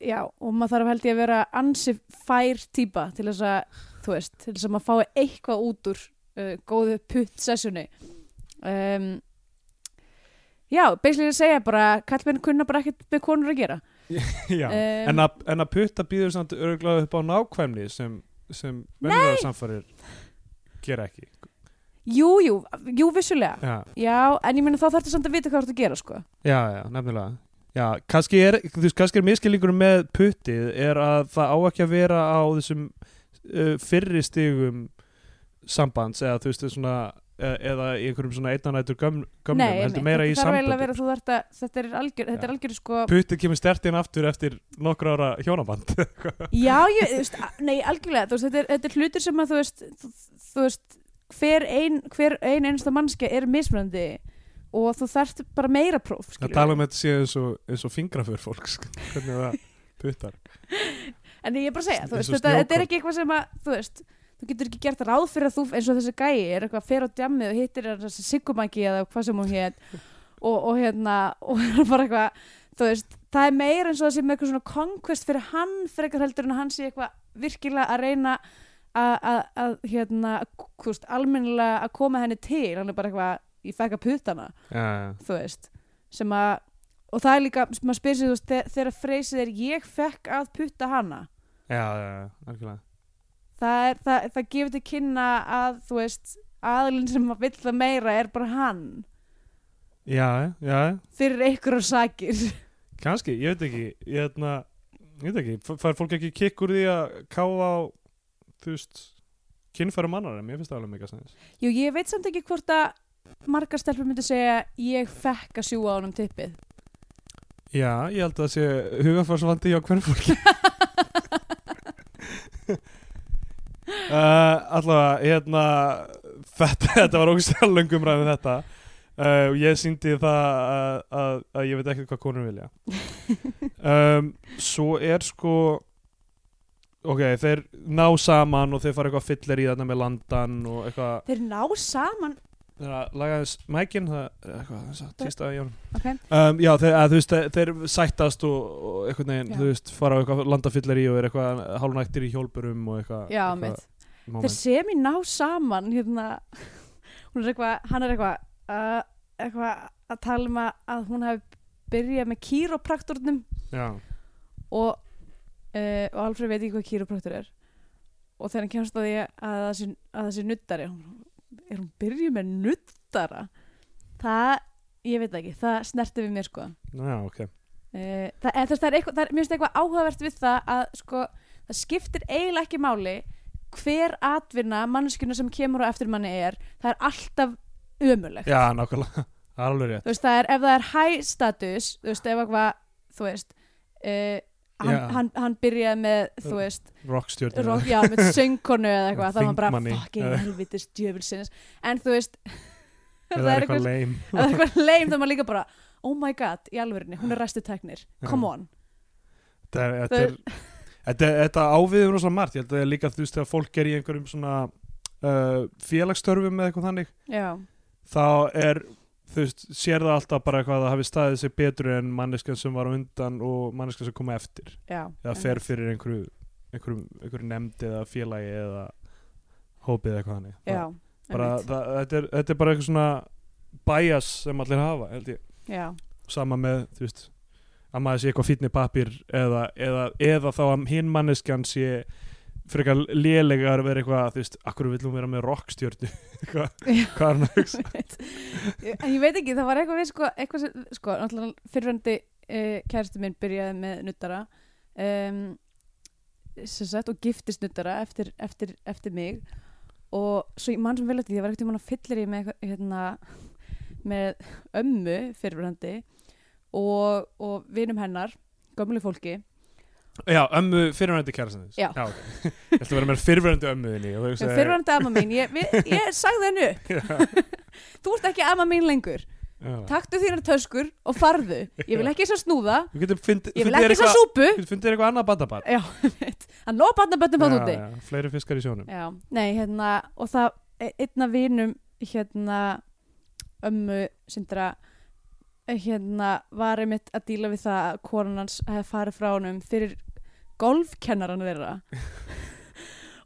Speaker 2: já, og maður þarf held ég að vera ansi fær típa til þess að þú veist, til þess að maður fái eitthvað út úr uh, góðu putt sessjunni um, já, basically að segja bara kallmenn kunna bara ekkert með konur að gera
Speaker 3: Já.
Speaker 2: um,
Speaker 3: en, að, en að putta býður samt örgulega upp á nákvæmni sem, sem venjulega samfærir gera ekki
Speaker 2: jú, jú, jú, vissulega
Speaker 3: já,
Speaker 2: já, en ég meina þá þarftu samt að vita hvað þú ert að gera sko.
Speaker 3: já, já nefnilega já, kannski er, þú veist, kannski er miskilingurum með puttið er að það á ekki að vera á þessum uh, fyrri stigum sambands eða þú veist, þess svona eða, eða í einhverjum svona einnanætur gömnum
Speaker 2: Nei,
Speaker 3: heldur
Speaker 2: einmitt,
Speaker 3: meira í
Speaker 2: þetta þarf eiginlega að
Speaker 3: samböndum
Speaker 2: vera, þú þarft að, þetta er algjör, þetta
Speaker 3: Já.
Speaker 2: er algjör sko,
Speaker 3: puttið kemur stertinn aftur eftir nokkur ára hjónaband
Speaker 2: já, ég, þú veist, a- nei, algjörlega, þú veist, þetta er, þetta er hlutur sem að, þú veist, þú, þú veist, hver ein, hver ein einsta mannskja er mismunandi og þú þarft bara meira próf,
Speaker 3: að
Speaker 2: skilur
Speaker 3: tala um þetta sé eins og, eins og fingraför fólks hvernig það puttar
Speaker 2: En ég er bara að segja, þú
Speaker 3: Eins
Speaker 2: veist,
Speaker 3: og
Speaker 2: þetta, þetta er
Speaker 3: snjókorn.
Speaker 2: ekki eitthvað sem að, þú veist, þú getur ekki gert ráð fyrir að þú, eins og þessi gæi, er eitthvað fer á djammið og hittir þessi siggumæki eða hvað sem hún hétt og, og hérna, og er bara eitthvað, þú veist, það er meira eins og það sem eitthvað svona conquest fyrir hann frekar heldur en að hann sé eitthvað virkilega að reyna að, að, að hérna, að, þú veist, almennilega að koma henni til, hann er bara eitthvað, ég fæk að puta hana
Speaker 3: já, já
Speaker 2: þú veist sem að, og það er líka, maður spyrir sig þú veist, þe- þegar freysið er ég fekk að putta hana
Speaker 3: Já, já, já, algjörlega
Speaker 2: það, er, það, það gefur til kynna að þú veist, aðlinn sem að vill það meira er bara hann
Speaker 3: Já, já, já,
Speaker 2: fyrir einhverjar sakir
Speaker 3: kannski, ég veit ekki Ég hefna, ég veit ekki, f- fær fólk ekki kikk úr því að káfa á þú veist, kynfærum annar en mér finnst það alveg mega sens
Speaker 2: Jú, ég veit samt ekki hvort að margar stelpur myndi segja ég fekk að sjúga á honum tippið
Speaker 3: Já, ég held að það sé hugafarsvandi hjá hvernig fólki uh, Allavega, hérna þetta, þetta var ógstæðan löngum ræðin um þetta uh, og ég síndi það að, að, að ég veit ekkert hvað konur vilja um, Svo er sko ok, þeir ná saman og þeir fara eitthvað fyllir í þarna með landan og eitthvað
Speaker 2: Þeir ná saman
Speaker 3: þeir að laga þess mækin það er eitthvað, þess að tísta í honum
Speaker 2: okay.
Speaker 3: Um, já, þeir, að, þú veist, þeir- þeir sættast og, og einhvern veginn,
Speaker 2: Já.
Speaker 3: þú veist, fara á eitthvað landafyllir í og er eitthvað hálunættir í hjólpurum og eitthvað,
Speaker 2: Já, mitt
Speaker 3: eitthvað
Speaker 2: Þeir
Speaker 3: moment.
Speaker 2: sem ná saman hérna, hún er eitthvað, hann er eitthvað uh, eitthvað að tala um að- að hún hafi byrjað með kýróprakturnum
Speaker 3: Já,
Speaker 2: og, uh, og Alfred veit ekki hvað kýrópraktur er og þegar hann kemst að því að það sé, að það sé nuttari hún- er hún byrjuð með nuttara það, ég veit það ekki það snerti við mér sko uh,
Speaker 3: já, ok
Speaker 2: það, eða, þess, það er eitthvað, það er, mér finnst eitthvað áhugavert við það að sko, það skiptir eiginlega ekki máli hver atvinna manneskjuna sem kemur á eftir manni er það er alltaf ömulegt
Speaker 3: Já, nákvæmlega, það er alveg rétt
Speaker 2: þú veist, það er, ef það er high status þú veist, ef eitthvað, þú veist uh, hann,
Speaker 3: Já.
Speaker 2: hann, hann byrjaði með, þú veist
Speaker 3: Rockstjörn
Speaker 2: rock, já, með söngkonu eða eitthvað það var bara,
Speaker 3: Þingmanni.
Speaker 2: fucking
Speaker 3: Já.
Speaker 2: helvitis djöfilsins en þú veist
Speaker 3: eða
Speaker 2: það er
Speaker 3: eitthvað
Speaker 2: eitthvað,
Speaker 3: leim
Speaker 2: ef það er eitthvað leim þá er maður líka bara, oh my god, í alvörinni hún er ræstu teknir, come
Speaker 3: Já.
Speaker 2: on
Speaker 3: Þetta er- þetta er- Þetta þetta áviður rosa margt, ég held að það er líka, þú veist, þegar fólk er í einhverjum svona uh, félagsstörfum eða eitthvað þannig
Speaker 2: já,
Speaker 3: þá er þú veist, sér það alltaf bara eitthvað að það hafi staðið sig betur en manneskan sem var á undan og manneskan sem kom á eftir
Speaker 2: já
Speaker 3: eða fer fyrir einhverju, einhverju, einhverju nefnd eða félagi eða hópið eða eitthvað hannig
Speaker 2: já,
Speaker 3: bara,
Speaker 2: einmitt.
Speaker 3: það, þetta, er, þetta er bara eitthvað svona bias sem allir hafa held ég.
Speaker 2: já,
Speaker 3: sama með þú veist, að maður sé eitthvað fínni pappir eða, eða, eða þá að hinn manneskjan sé frekar lélega að vera eitthvað þú veist, akkur vill hún vera með rockstjörnu hvað, hvað er hann að hugsa
Speaker 2: Ég- en ég veit ekki, það var eitthvað við sko, eitthvað sem, sko, náttúrulega fyrrandi uh, kæristu minn byrjaði með nuttara um, sem sagt og giftist nuttara eftir, eftir, eftir mig og svo ég mann sem vel eftir því, ég var ekkert mann að fyllir ég með eitthvað, hérna, með ömmu fyrrandi og, og vinum hennar gömlu fólki
Speaker 3: Já, ömmu fyrirverandi kærastins
Speaker 2: Já.
Speaker 3: Já okay. Ég ætla að vera með fyrirverandi ömmuðinni
Speaker 2: sem fyrrandi amma mín, ég, við, ég sagði hennu þú ert ekki amma mín lengur taktu þínar töskur og farðu ég vil ekki svo snúða
Speaker 3: Þú getur fundið
Speaker 2: Ég vil ekki þess að súpu
Speaker 3: Fundir eitthvað annað bandabann
Speaker 2: Já, einmitt. hann lofa barna bönnum að úti
Speaker 3: Fleiri fiskar í sjónum
Speaker 2: Já, nei, hérna og það, e- einn af vinum hérna ömmu sindra hérna var einmitt að díla við það að konan hans hefði farið frá honum fyrir golfkennaran þeirra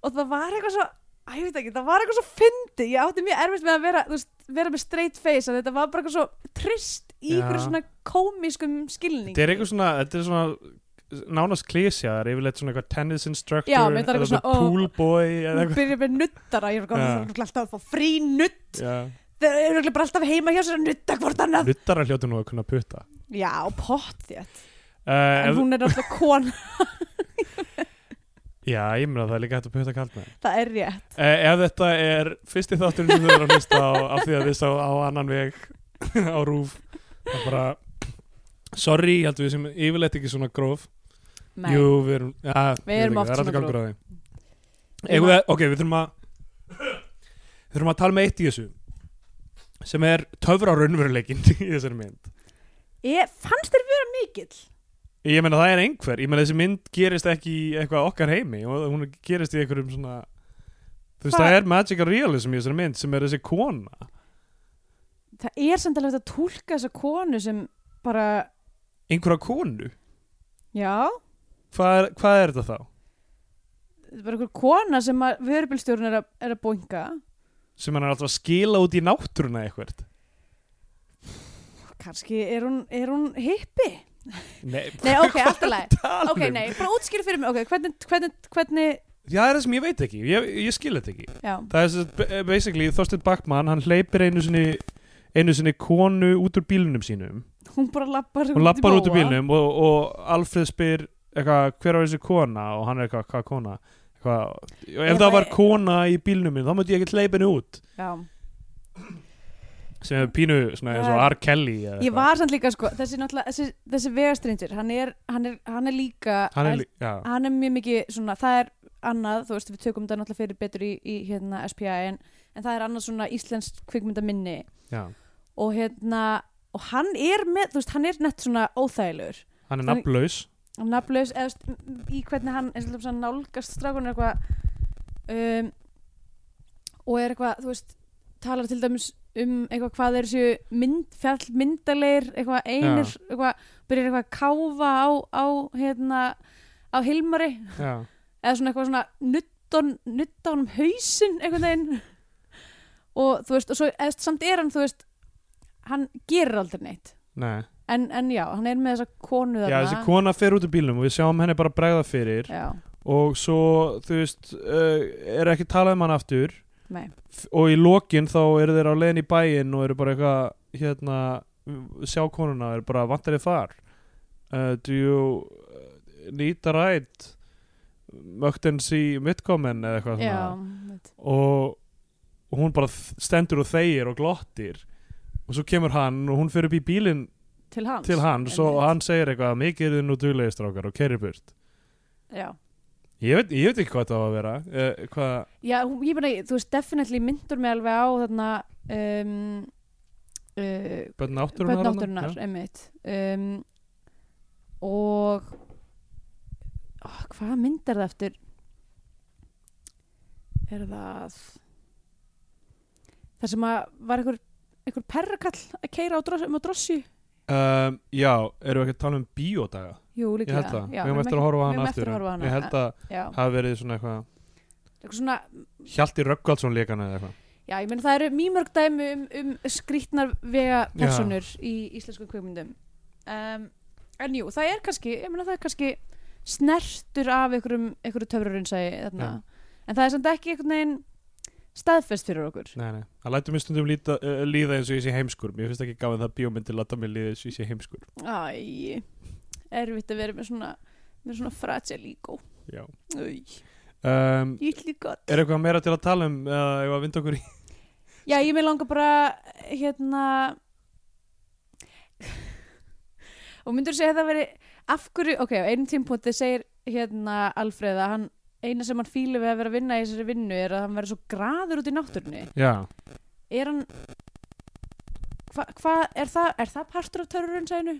Speaker 2: og það var eitthvað svo að ég veit ekki, það var eitthvað svo fyndi ég átti mjög erfitt með að vera, þú veist, vera með straight face að þetta var bara eitthvað svo trist í
Speaker 3: Já.
Speaker 2: einhverju svona komískum skilning
Speaker 3: Þetta er eitthvað svona, þetta er svona nánast klísja, það er yfirleitt svona eitthvað tennis instructor,
Speaker 2: Já, mér þetta er
Speaker 3: eða
Speaker 2: eitthvað svona, ó,
Speaker 3: pool boy eða
Speaker 2: hún
Speaker 3: eitthvað
Speaker 2: byrjar með nuttara ég er
Speaker 3: Já.
Speaker 2: eitthvað, það er alltaf að fá frí nutt
Speaker 3: Já.
Speaker 2: þeir eru örugglega bara alltaf heima hjá sér að nutta hvort annað
Speaker 3: Nuttara hljóti nú að kunna putta
Speaker 2: já, pott þétt
Speaker 3: uh,
Speaker 2: en
Speaker 3: ef,
Speaker 2: hún er alltaf kona,
Speaker 3: Já, ég meina það er líka hægt að putta kalt með
Speaker 2: það er rétt
Speaker 3: uh, Ef þetta er fyrsti þátturinn sem þau eru að hlusta á af því að þið sá á annan veg á rúf það er bara Sorry, ég held að við sem yfirleitt ekki svona gróf
Speaker 2: Nei.
Speaker 3: Jú, við erum ja,
Speaker 2: Við erum oft svona
Speaker 3: gróf
Speaker 2: gróf.
Speaker 3: Eigum við, ok, við þurfum að við þurfum að tala með eitt í þessu sem er töfra raunveruleikin í þessari mynd
Speaker 2: ég Eh, fannst þér vera mikill
Speaker 3: ég meina það er einhver, ég meina þessi mynd gerist ekki í eitthvað okkar heimi og hún gerist í einhverjum svona þú veist,
Speaker 2: Hvað?
Speaker 3: það er magical realism í þessari mynd sem er þessi kona
Speaker 2: það er samt alveg hægt að tólka þessa konu sem bara,
Speaker 3: einhverja konu,
Speaker 2: já
Speaker 3: hvað er, hvað er þetta þá?
Speaker 2: þetta er bara einhver kona sem að vörubilstjórun er, að- er að bónga
Speaker 3: sem hann er alltaf að skila út í náttúruna eitthvað
Speaker 2: kannski er hún, er hún hippi
Speaker 3: Nei,
Speaker 2: nei, ok, alltaf leið
Speaker 3: tala
Speaker 2: ok,
Speaker 3: um?
Speaker 2: nei, bara útskýra fyrir mig, ok, hvernig hvernig, hvernig,
Speaker 3: Já, það er það sem ég veit ekki, ég, ég skil þetta ekki
Speaker 2: já
Speaker 3: Það er sem sagt, b- basically Þorstein Backmann hann hleypir einu sinni einu sinni konu út úr bílunum sínum
Speaker 2: hún bara lappar
Speaker 3: hún lappar út úr
Speaker 2: móa.
Speaker 3: bílunum og, og Alfred spyr eitthvað, hver var þessi kona og hann er eitthvað, hvað kona eitthvað, ef
Speaker 2: Ef
Speaker 3: það var
Speaker 2: að-
Speaker 3: kona í bílunum minn, þá mötti ég ekki hleypa henni út
Speaker 2: já
Speaker 3: sem er pínu svona, eins og
Speaker 2: Það-
Speaker 3: R. Kelly eða
Speaker 2: Ég
Speaker 3: eitthvað.
Speaker 2: var samt líka sko, þessi, náttúrulega- þessi, þessi vegastrindir, hann er, hann, er, hann er líka
Speaker 3: hann er, lí- já,
Speaker 2: hann er mjög mikið svona, það er annað, þú veist, við tökum þetta náttúrulega fyrir betur í, í hérna SPI en, en það er annað svona íslensk kvikmyndaminni
Speaker 3: já,
Speaker 2: og hérna, og hann er með, þú veist, hann er nett svona óþægilegur
Speaker 3: hann er
Speaker 2: Þannig-
Speaker 3: nafnlaus
Speaker 2: og nafnlaus, eða þú veist, í hvernig hann eins og þess að nálgast strákunum eitthvað um, og er eitthvað, þú veist, talar til dæmis um eitthvað hvað þeir séu mynd, fjallmyndalegir, eitthvað einir eitthvað, byrjar eitthvað að káfa á, á hérna, á Hilmari
Speaker 3: já.
Speaker 2: eða svona eitthvað svona nutton, nuttonum hausinn einhvern veginn og þú veist, og svo eða samt er hann, þú veist hann gerir aldrei neitt
Speaker 3: Nei.
Speaker 2: en, en já, hann er með þessa konu
Speaker 3: já, þessi kona fer út úr bílunum og við sjáum henni bara bregða fyrir
Speaker 2: já,
Speaker 3: og svo, þú veist uh, er ekki talað um hann aftur
Speaker 2: nei
Speaker 3: F- og í lokin þá eru þeir á leiðin í bæinn og eru bara eitthvað hérna, sjá konuna, eru bara vantar þið far uh, do you uh, need a ride mögtensi midkomin eða eitthvað
Speaker 2: já,
Speaker 3: svona og, og hún bara þ- stendur og þegir og glottir og svo kemur hann og hún fyrir upp í bílinn
Speaker 2: til hans
Speaker 3: til hans og
Speaker 2: einmitt.
Speaker 3: hann segir eitthvað mikið er þið nú duglegir strákar og kerir burt
Speaker 2: já,
Speaker 3: ég veit, ég veit ekki hvað það var að vera uh, hvað,
Speaker 2: já hún- ég meina, þú veist, definitely myndur mig alveg á þarna um, uh,
Speaker 3: bönn náttúrunar
Speaker 2: börn
Speaker 3: þarna?
Speaker 2: átturinnar,
Speaker 3: Já.
Speaker 2: einmitt um, og ó, hvað mynd er það eftir er það það sem að var einhver, einhver perrakall að keira á drossi, um á drossi
Speaker 3: Um, já, erum við ekki að tala um bíódaga?
Speaker 2: jú,
Speaker 3: Ég
Speaker 2: líklega
Speaker 3: held það,
Speaker 2: já,
Speaker 3: við höfum eftir að
Speaker 2: ekki-
Speaker 3: horfa á
Speaker 2: við
Speaker 3: hann
Speaker 2: eigum
Speaker 3: aftur
Speaker 2: eftir að horfa á hana.
Speaker 3: Ég held að
Speaker 2: já,
Speaker 3: hafa verið svona eitthvað
Speaker 2: eitthvað svona
Speaker 3: Hjalti Röggvaldsson leikana eða eitthvað
Speaker 2: Já, ég meina það eru mjög mörg dæmi um, um skrýtnar vega personur í íslensku kveikmyndum um, En jú, það er kannski ég meina það er kannski snertur af einhverjum, einhverju töfrarinsægi þarna En það er samt ekki einhvern veginn staðfest fyrir okkur
Speaker 3: Nei, nei, það lætur mér stundum líta, uh, líða eins og ég sé heimskur Mér finnst ekki gafin það bíómyndi láta mér líða eins og ég sé heimskur
Speaker 2: Æ, erfitt að vera með svona með svona fragile ego
Speaker 3: Já
Speaker 2: Æ,
Speaker 3: um,
Speaker 2: ítli gott
Speaker 3: Er eitthvað meira til að tala um eða uh, ef að vinda okkur í
Speaker 2: Já, ég með langar bara hérna og myndur segja að það veri af hverju, ok, á einum tímpúnti segir hérna Alfreð að hann eina sem hann fíli við að vera að vinna í þessari vinnu er að hann verður svo graður út í náttúrunni
Speaker 3: Já,
Speaker 2: er hann hvað, hva, er, það, er það partur af törrurinn sæðinu?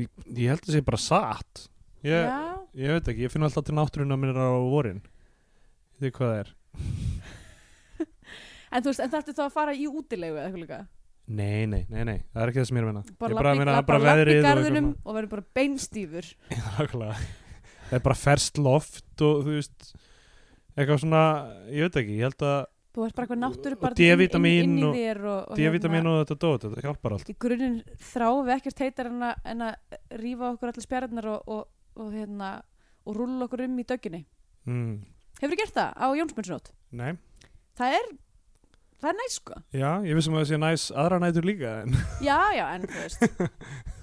Speaker 3: ég, ég held að sé bara satt ég,
Speaker 2: Já,
Speaker 3: ég veit ekki, ég finn alltaf til náttúruna mér á vorin Þetta er hvað það er
Speaker 2: en þú veist, en það ertu þá að fara í útilegu eða eitthvað líka
Speaker 3: Nei, nei, nei, nei, það er ekki það sem ég er að minna
Speaker 2: bara
Speaker 3: Ég er bara að
Speaker 2: labba
Speaker 3: minna
Speaker 2: labba-
Speaker 3: bara
Speaker 2: labba í
Speaker 3: veðrið og eitthvað
Speaker 2: garðinum
Speaker 3: svona.
Speaker 2: og verður bara beinstífur
Speaker 3: Nákvæmlega. Það er bara ferst loft og þú veist eitthvað svona, ég veit ekki, ég held að
Speaker 2: þú ert bara eitthvað náttúru
Speaker 3: Og D-vítamín
Speaker 2: inn, inn, inn í
Speaker 3: og-
Speaker 2: þér og, hérna- og
Speaker 3: D-vitamin og þetta dót, þetta hjálpar allt
Speaker 2: í grunin þráum við ekkert heitar en að, en að rífa okkur allar spjarnar og, og, og, hérna, og rúlla okkur um í dögginni
Speaker 3: mm.
Speaker 2: hefur þið gert það á Jónsmundsnót?
Speaker 3: Nei,
Speaker 2: það er, það er næst sko
Speaker 3: já, ég vissum að það sé næs aðra nætur líka en
Speaker 2: já, já, en þú veist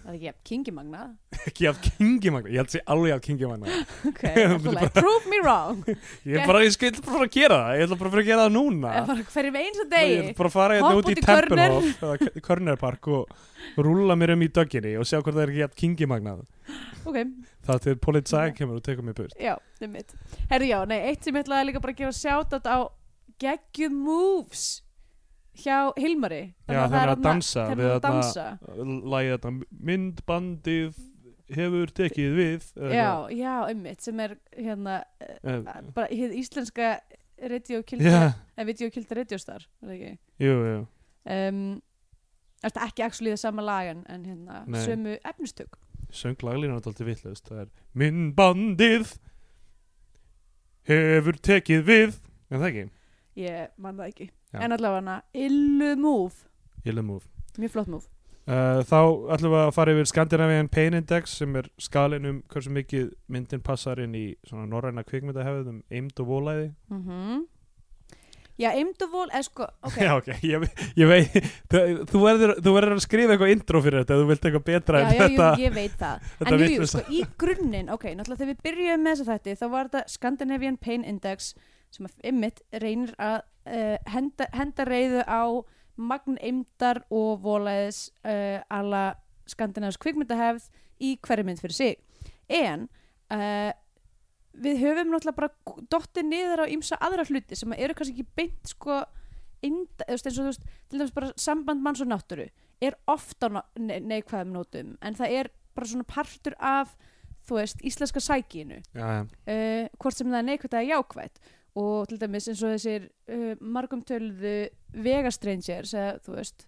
Speaker 2: það er ekki jafn kingimagna
Speaker 3: ekki af kingimagna, ég held að sé alveg af kingimagna
Speaker 2: ok, alltaf leið, prove me wrong
Speaker 3: Ég er bara, ég skal bara fara að gera það, ég ætla bara að fara að gera það núna
Speaker 2: en bara hverjum eins að
Speaker 3: Ég
Speaker 2: degi
Speaker 3: ætla bara að fara hérna
Speaker 2: Hoppa
Speaker 3: út í
Speaker 2: út í
Speaker 3: Tempelhof eða K- Körnerpark og rúlla mér um í dögginni og sjá hvort það er ekki jafn kingimagnað
Speaker 2: ok,
Speaker 3: Það til politsæk kemur og tekur mér burt
Speaker 2: já, um mitt herru já, nei, eitt sem ég ætlaði líka bara að gera sjátt á geggjum moves hjá Hilmari
Speaker 3: Já, þeir eru að dansa
Speaker 2: þeir
Speaker 3: við
Speaker 2: eru að
Speaker 3: þarna-
Speaker 2: dansa
Speaker 3: Lægið þetta myndbandið hefur tekið við eða
Speaker 2: Já, já, ummitt, sem er hérna eh,
Speaker 3: eitthvað. Eh,
Speaker 2: bara hið íslenska radiokilda,
Speaker 3: Já,
Speaker 2: yeah. videokilda radiostar, er það ekki?
Speaker 3: jú, jú
Speaker 2: Um, er þetta ekki actually það sama lag en, en hérna,
Speaker 3: Nei.
Speaker 2: sömu efnistök.
Speaker 3: Sönglaglínu er alltaf vitlaust Það er myndbandið hefur tekið við En það ekki,
Speaker 2: Ég man það ekki.
Speaker 3: Já.
Speaker 2: En allavega hana, illu move,
Speaker 3: illa múf
Speaker 2: mjög flott move.
Speaker 3: Uh, þá ætlum við að fara yfir Scandinavian Pain Index sem er skalinn um hversu mikið myndin passar inn í svona norræna kvikmyndahefið um eimd og volæði
Speaker 2: Mm Já, Imdovol, eða sko, ok,
Speaker 3: Já, ok, ég, ég veit þú- þú verður, þú verður að skrifa eitthvað intro fyrir þetta ef þú vilt eitthvað betra
Speaker 2: já,
Speaker 3: en
Speaker 2: já,
Speaker 3: þetta
Speaker 2: jú, ég veit það.
Speaker 3: þetta
Speaker 2: En jú, jú,
Speaker 3: vitleysa.
Speaker 2: sko, í grunninn, ok, náttúrulega þegar við byrjuðum með þess að þetta, þá var þetta Scandinavian Pain Index sem að ymmit reynir að uh, henda, henda reyðu á magn eimdar og volaðis uh, alla skandinavs kvikmyndahefð í hverju mynd fyrir sig. En uh, við höfum náttúrulega bara dottið niður á ýmsa aðra hluti sem að eru kannski ekki beint sko einda, eins og þú veist, til dæmis bara samband manns og náttúru er ofta ne neikvæðum nótum en það er bara svona partur af þú veist, íslenska sækinu
Speaker 3: já, já,
Speaker 2: uh, hvort sem það er neikvætt eða jákvætt og til dæmis eins og þessir uh, margum töluðu vegastrangers eða þú veist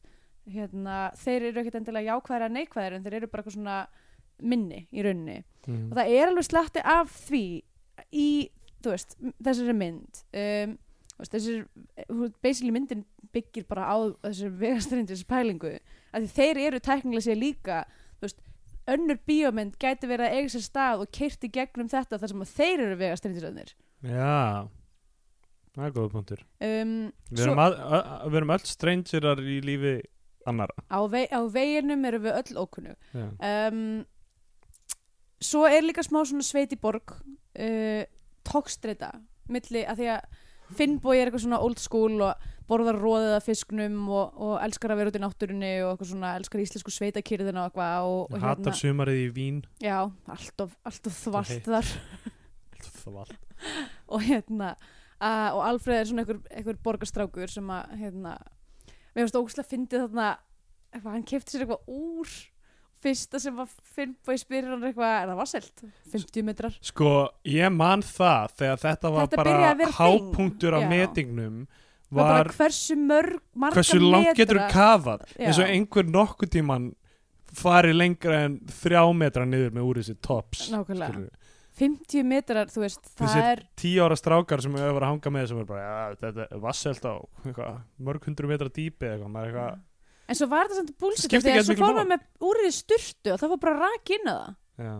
Speaker 2: hérna, þeir eru ekkert endilega jákvæðir að neikvæðir en þeir eru bara eitthvað svona minni í rauninni og
Speaker 3: mm,
Speaker 2: það er alveg slatti af því í, þú veist, m- þessari mynd um, þú veist, þessir þú veist, basically myndin byggir bara á þessari vegastrindis pælingu að því þeir eru tæknilega sér líka þú veist, önnur bíómynd gæti verið að eiga sér stað og keirti gegnum þetta þar sem að þeir eru vegastrindisöðnir
Speaker 3: já það er góða punktur
Speaker 2: um,
Speaker 3: við erum, að, að, að- við erum öll strangerar í lífi annara
Speaker 2: á, veg, á veginum erum við öll ókunnu
Speaker 3: já,
Speaker 2: um, svo er líka smá svona sveit í borg uh, tókstreita milli að því að Finnbói er eitthvað svona old school og borðar róðið af fisknum og, og elskar að vera út í náttúrunni og eitthvað svona elskar íslensku sveitakýrðina og eitthvað og, hérna- og
Speaker 3: hatar sumarið í vín
Speaker 2: já, allt of, allt of þvalt
Speaker 3: heitt.
Speaker 2: þar
Speaker 3: það var allt
Speaker 2: og hérna uh, og Alfreð er svona einhver, einhver borgarstrákur sem að hérna, mér finnst ógustlega fyndið þarna eitthvað, hann kefti sér eitthvað úr fyrsta sem var Finnbói spyrir hann eitthvað, en það var selt 50 metrar
Speaker 3: Sko, ég man það þegar þetta var
Speaker 2: Þetta byrjaði að
Speaker 3: bara
Speaker 2: vera þing.
Speaker 3: hápunktur af
Speaker 2: Já.
Speaker 3: metingnum
Speaker 2: var
Speaker 3: var
Speaker 2: bara hversu mörg, marga
Speaker 3: hversu langt
Speaker 2: metra
Speaker 3: getur þú kafað
Speaker 2: Já.
Speaker 3: eins og einhver nokkuð tíman fari lengra en þrjá metra niður með úr þessi tops
Speaker 2: Nákvæmlega.
Speaker 3: skilurðu.
Speaker 2: 50 metrar, þú veist, það
Speaker 3: Þessi-
Speaker 2: er
Speaker 3: tíu ára strákar sem hefur verið að hanga með sem er bara, ja, þetta er vasselt á eitthvað, mörg hundru metra dýpi eða eitthvað, maður er eitthvað
Speaker 2: en svo var þetta samt búlsitt
Speaker 3: Skipti ekki
Speaker 2: þegar
Speaker 3: jafn
Speaker 2: svo
Speaker 3: miklu
Speaker 2: fór maður með úrið í sturtu og það fór bara rak inn að það
Speaker 3: já.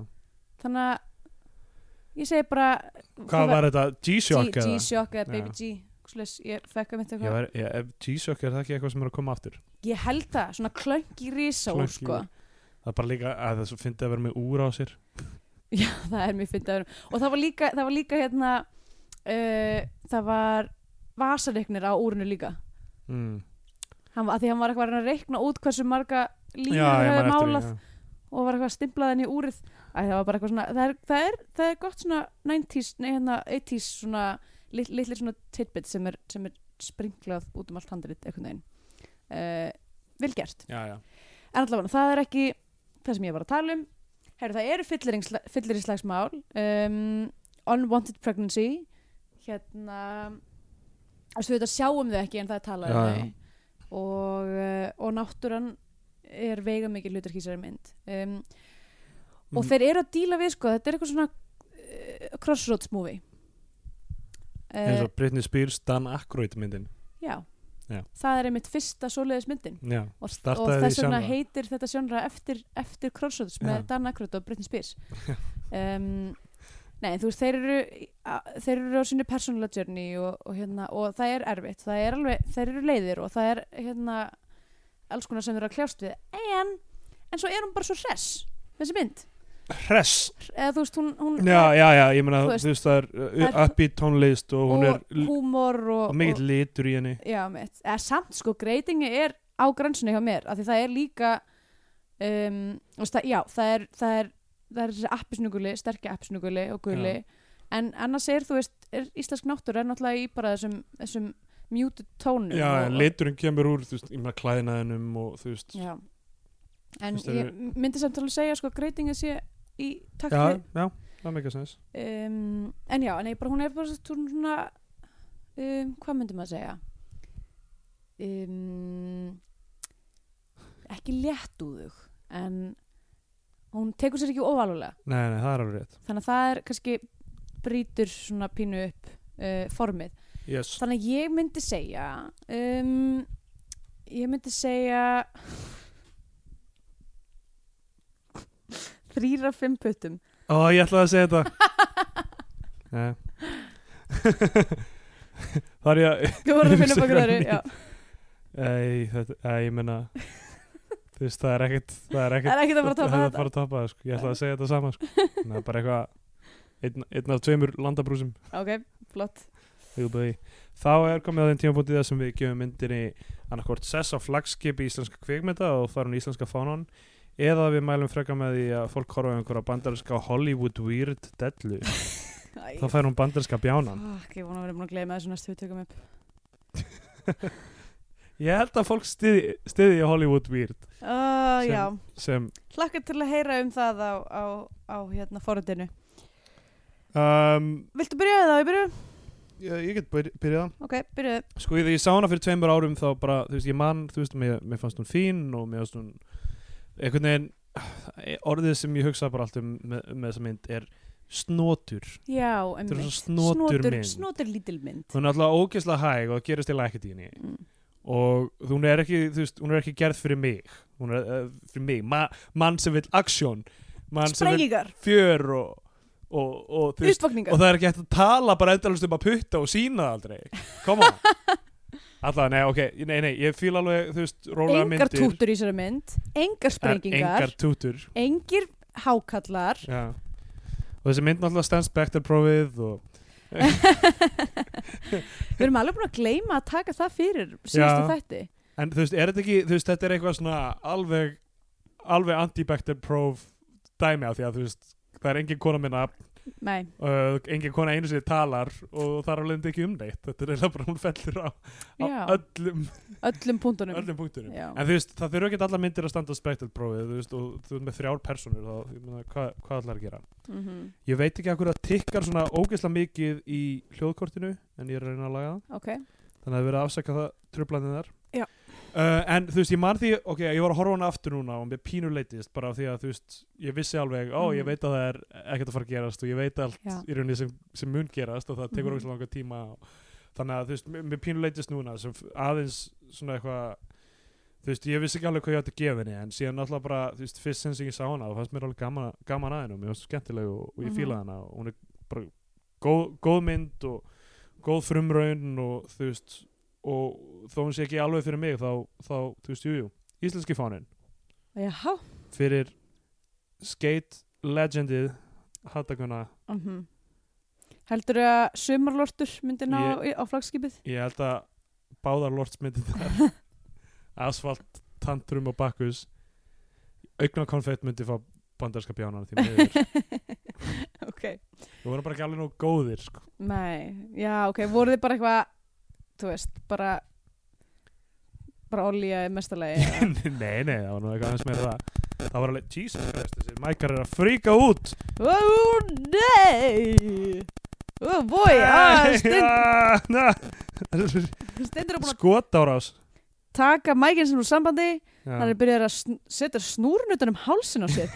Speaker 2: þannig að ég segi bara
Speaker 3: hvað var þetta, G-Shock
Speaker 2: G-
Speaker 3: eða?
Speaker 2: G-Shock eða
Speaker 3: Já.
Speaker 2: Baby G Svoleiðis, ég fekk að mitt
Speaker 3: Ég
Speaker 2: eitthvað
Speaker 3: var- ég- ef G-Shock er það ekki eitthvað sem er að koma aftur
Speaker 2: Ég held það, svona klöngi risól
Speaker 3: Klönk í-
Speaker 2: sko.
Speaker 3: það er bara líka að það finnst að vera með úr á sér
Speaker 2: Já, það er mjög fyndið að vera Og það var líka, það var líka hérna uh, Það var vasareiknir á úrinu líka
Speaker 3: mm.
Speaker 2: hann, var- Af því hann var eitthvað að reyna að reikna út hversu marga
Speaker 3: já,
Speaker 2: línur
Speaker 3: ég
Speaker 2: hann
Speaker 3: man
Speaker 2: hefði
Speaker 3: eftir því,
Speaker 2: málað
Speaker 3: já.
Speaker 2: og var eitthvað að stimplað henni í úrið Æ, það var bara eitthvað svona það er, það er, það er gott svona 90s, nei hérna 80s svona lit, litli svona tidbit sem er, sem er springlað út um allt handrit einhvern veginn uh, Vel gert
Speaker 3: já, já.
Speaker 2: En allavega, það er ekki það sem ég var að tala um. Herru, það eru fyllirinslægsmál, um, unwanted pregnancy, hérna, þú veist, við þetta sjáum þau ekki en það er talað
Speaker 3: Já,
Speaker 2: um
Speaker 3: já.
Speaker 2: þau. og, eh, og náttúran er veiga mikið hlutur kísari mynd um, og
Speaker 3: Mhm.
Speaker 2: þeir eru að díla við sko, þetta er eitthvað svona uh, crossroads movie
Speaker 3: eins
Speaker 2: uh,
Speaker 3: og Britney Spears Dan Aykroyd myndin
Speaker 2: Eh, já.
Speaker 3: Já.
Speaker 2: það er einmitt fyrsta svoleiðis myndin
Speaker 3: já,
Speaker 2: og, og
Speaker 3: Startaði
Speaker 2: þess
Speaker 3: því
Speaker 2: vegna
Speaker 3: sjónra.
Speaker 2: heitir þetta sjónra eftir, eftir crossroads með
Speaker 3: Já.
Speaker 2: Dan Aykroyd og Britney Spears um, Nei, þú veist, þeir eru a- þeir eru á sínu persónulega journey og, og, hérna, og það er erfitt það er alveg, þeir eru leiðir og það er hérna, alls konar sem þeir eru að kljást við en, en svo er hún bara svo hress þessi mynd
Speaker 3: Hress
Speaker 2: eða þú veist, hún, hún
Speaker 3: Já, já, já, ég meina,
Speaker 2: Þú
Speaker 3: þú
Speaker 2: veist,
Speaker 3: veist, það er
Speaker 2: það er-
Speaker 3: uppi tónlist og hún er
Speaker 2: og húmor og,
Speaker 3: og mikill litur í henni
Speaker 2: Já, mitt. Eða samt sko, greitingi er á grænsinu hjá mér, af því það er líka um, þú veist, það, já, það er það er, það er þessi appisnuguli sterkja appisnuguli og guli en annars er, þú veist, er íslensk náttúr er náttúrulega í bara þessum, þessum muted tónum
Speaker 3: Já,
Speaker 2: og,
Speaker 3: liturinn kemur úr, þú veist, ég meina, klæðinaðinum og þú veist
Speaker 2: já. en
Speaker 3: Þú veist,
Speaker 2: ég myndi samt alveg segja sko, greitingi sé í takt
Speaker 3: já,
Speaker 2: við
Speaker 3: já, það meika sens
Speaker 2: um, en já, nei, bara hún er bara svo- svona, svona um, hvað myndi maður segja um, ekki létt úðug en hún tekur sér ekki óvalulega
Speaker 3: Nei, nei, það er alveg rétt
Speaker 2: þannig að það er kannski brýtur svona pínu upp uh, formið
Speaker 3: yes.
Speaker 2: þannig að ég myndi segja um, ég myndi segja þrýra fimm puttum
Speaker 3: Ó, ég ætlaði að segja þetta Nei. Það er ég að
Speaker 2: þú voru að finna upp okkur öðru já.
Speaker 3: Ei, þetta, ei, ég meina Þú veist, það er ekkert Það
Speaker 2: það
Speaker 3: er ekkert
Speaker 2: er ekki það bara að
Speaker 3: það
Speaker 2: topa
Speaker 3: er
Speaker 2: þetta
Speaker 3: bara að toppa það, sko. Ég ætlaði að segja þetta sama sko. Nei, Það er bara eitthvað einn, einn af tveimur landabrúsum
Speaker 2: ok, flott
Speaker 3: Hugbúi. Þá er komið að þeim tímapunktið þar sem við gefum myndinni annarkvort sess á flagskipi íslenska kvikmynda og þar hún íslenska fánan eða við mælum freka með því að fólk horfa á einhverja bandarinska Hollywood weird dellu
Speaker 2: Æ,
Speaker 3: þá fær hún bandarinska bjánan
Speaker 2: fuck, ég vona að vera búin að gleyma þessu næstu við tökum upp
Speaker 3: ég held að fólk styðji, styðji Hollywood weird
Speaker 2: uh,
Speaker 3: Sem-
Speaker 2: já,
Speaker 3: sem
Speaker 2: hlakka til að heyra um það á, á, á hérna forutinu
Speaker 3: um,
Speaker 2: viltu byrja það, ég byrju?
Speaker 3: ég, ég get byrjað byrja
Speaker 2: ok, byrju
Speaker 3: sko þegar ég sá hana fyrir tveimur árum þá bara, þú veist, ég man, þú veist, mér, mér fannst hún fín og mér fannst hún einhvern veginn, orðið sem ég hugsa bara allt um með, með þessa mynd er snotur,
Speaker 2: já,
Speaker 3: þetta er
Speaker 2: emmi
Speaker 3: svo snotur, mynd
Speaker 2: snotur lítil mynd
Speaker 3: hún er alltaf ógeðslega hæg og það gerist eiginlega ekkert í henni
Speaker 2: Mm.
Speaker 3: og hún er ekki, þú veist, hún er ekki gerð fyrir mig hún er uh, fyrir mig, Ma, mann sem vill aksjón, mann sem vill
Speaker 2: sprengingar,
Speaker 3: fjör og, og, og, þú veist, og
Speaker 2: uppvakningar
Speaker 3: það er ekki hægt að tala bara endalust um að putta og sína það aldrei koma allavega, nei, ok, nei, nei, ég fíla alveg þú veist, rólega
Speaker 2: engar
Speaker 3: myndir
Speaker 2: tútur í þessari mynd engar
Speaker 3: en
Speaker 2: sprengingar,
Speaker 3: engar tútur
Speaker 2: engir hákallar
Speaker 3: já. og þessi mynd náttúrulega stendst Bechdel-prófið og
Speaker 2: við erum alveg búin að gleyma að taka það fyrir síðustu
Speaker 3: Já.
Speaker 2: þætti
Speaker 3: en þú veist, er þetta ekki, þú veist, þetta er eitthvað svona alveg, alveg anti-Bechdel-próf dæmi á því að þú veist það er engin kona minna,
Speaker 2: nei,
Speaker 3: uh, engin kona einu sinni talar og það er alveg ekki umneitt þetta er eiginlega bara hún fellur á, á
Speaker 2: Já.
Speaker 3: öllum,
Speaker 2: öllum punktunum
Speaker 3: öllum punktunum
Speaker 2: Já.
Speaker 3: En þú veist, það þurfa ekki allar myndir að standa á spektelprófið, þú veist, og þú veist með þrjár personur, þá, ég meina, hvað, hvað allar að gera?
Speaker 2: Mhm.
Speaker 3: Ég veit ekki að hverju það tikkar svona ógeðslega mikið í hljóðkortinu, en ég er að reyna að laga það,
Speaker 2: ok,
Speaker 3: þannig að við erum að afsaka það trublandið þar.
Speaker 2: Já.
Speaker 3: Uh, en þú veist, ég man því, ok, ég var að horfa á hana aftur núna og mér pínur leitist bara af því að, þú veist, ég vissi alveg, ó, ég
Speaker 2: Mhm.
Speaker 3: veit að það er ekkert að fara að gerast og ég veit allt
Speaker 2: Já.
Speaker 3: í rauninni sem, sem mun gerast og það tekur
Speaker 2: Mhm.
Speaker 3: mm langa tíma og, þannig að, þú veist, mér- mér pínur leitist núna sem f- aðeins svona eitthvað þú veist, ég vissi ekki alveg hvað ég átti að gefa henni en síðan alltaf bara, þú veist, fyrst sem ég sá hana þá fannst mér alveg gaman, gaman að henni og mér fannst hún skemmtileg og, og ég
Speaker 2: Mhm.
Speaker 3: fílaði hana og hún er bara góð, góð mynd og góð frumraun og þú veist og þó hún sé ekki alveg fyrir mig þá, þá þú veist, jújú, jú, íslenski fáninn
Speaker 2: já
Speaker 3: fyrir skate legendið hattakuna,
Speaker 2: Mm Heldur þau að sumarlortur myndir ná
Speaker 3: Ég-
Speaker 2: á, á flagskipið?
Speaker 3: ég held að báðar lortsmyndir þar asfalt, tantrum og bakkus augnakonfett myndi fá bandarska bjánan því miður
Speaker 2: ok.
Speaker 3: Við vorum bara ekki alveg nú góðir sko.
Speaker 2: Nei, já, ok, voru þið bara eitthvað, þú veist, bara, bara olja í mestalagi?
Speaker 3: Nei, nei, það var nú eitthvað aðeins meira það Það var alveg, Jesus Christ, þessi mækar er að fríka út
Speaker 2: Ó, nei! Ó, boi, ah, stend,
Speaker 3: Ah, na,
Speaker 2: stendur að búin að,
Speaker 3: Skotárás
Speaker 2: taka mækinn sem úr sambandi
Speaker 3: Sko- Já.
Speaker 2: hann er byrjað að sn setja snúrun utan um hálsin á sér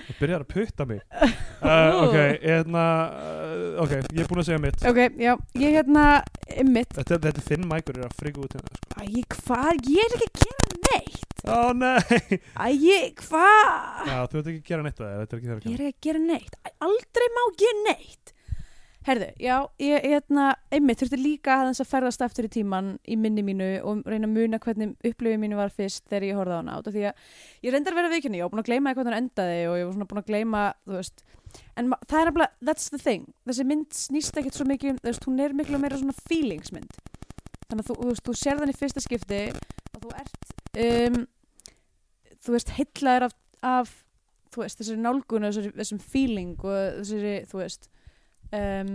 Speaker 3: Það byrjar að putta mig uh, Ok, hérna uh, Ok, ég er búin að segja mitt
Speaker 2: ok, já, ég hérna mitt,
Speaker 3: Þetta, þetta er þinn mækur er að frigga út hérna sko.
Speaker 2: æ, hvað, ég er ekki að gera neitt
Speaker 3: Ó nei
Speaker 2: æ, ég, hvað
Speaker 3: Já, þú ert ekki að gera neitt að það Þetta er ekki
Speaker 2: ég
Speaker 3: þegar
Speaker 2: er ekki að gera neitt Æ, aldrei má ég neitt herðu, já, ég, hérna einmitt þurfti líka að þess að ferðast aftur í tíman í minni mínu og reyna að muna hvernig upplifið mínu var fyrst þegar ég horfði á hana út af því að ég reyndar að vera viðkynni, ég var búin að gleyma hvernig hann endaði og ég var svona búin að gleyma, þú veist en ma- það er alveg, that's the thing þessi mynd snýst ekkert svo mikið, um- þú veist, hún er miklu meira svona feelingsmynd þannig að þú, þú veist, þú sér þannig fyrsta skipti og þú ert um, þú veist, heitlaður af, af þú veist, þessari nálgun og þessari, þessum feeling og þessari, þú veist um,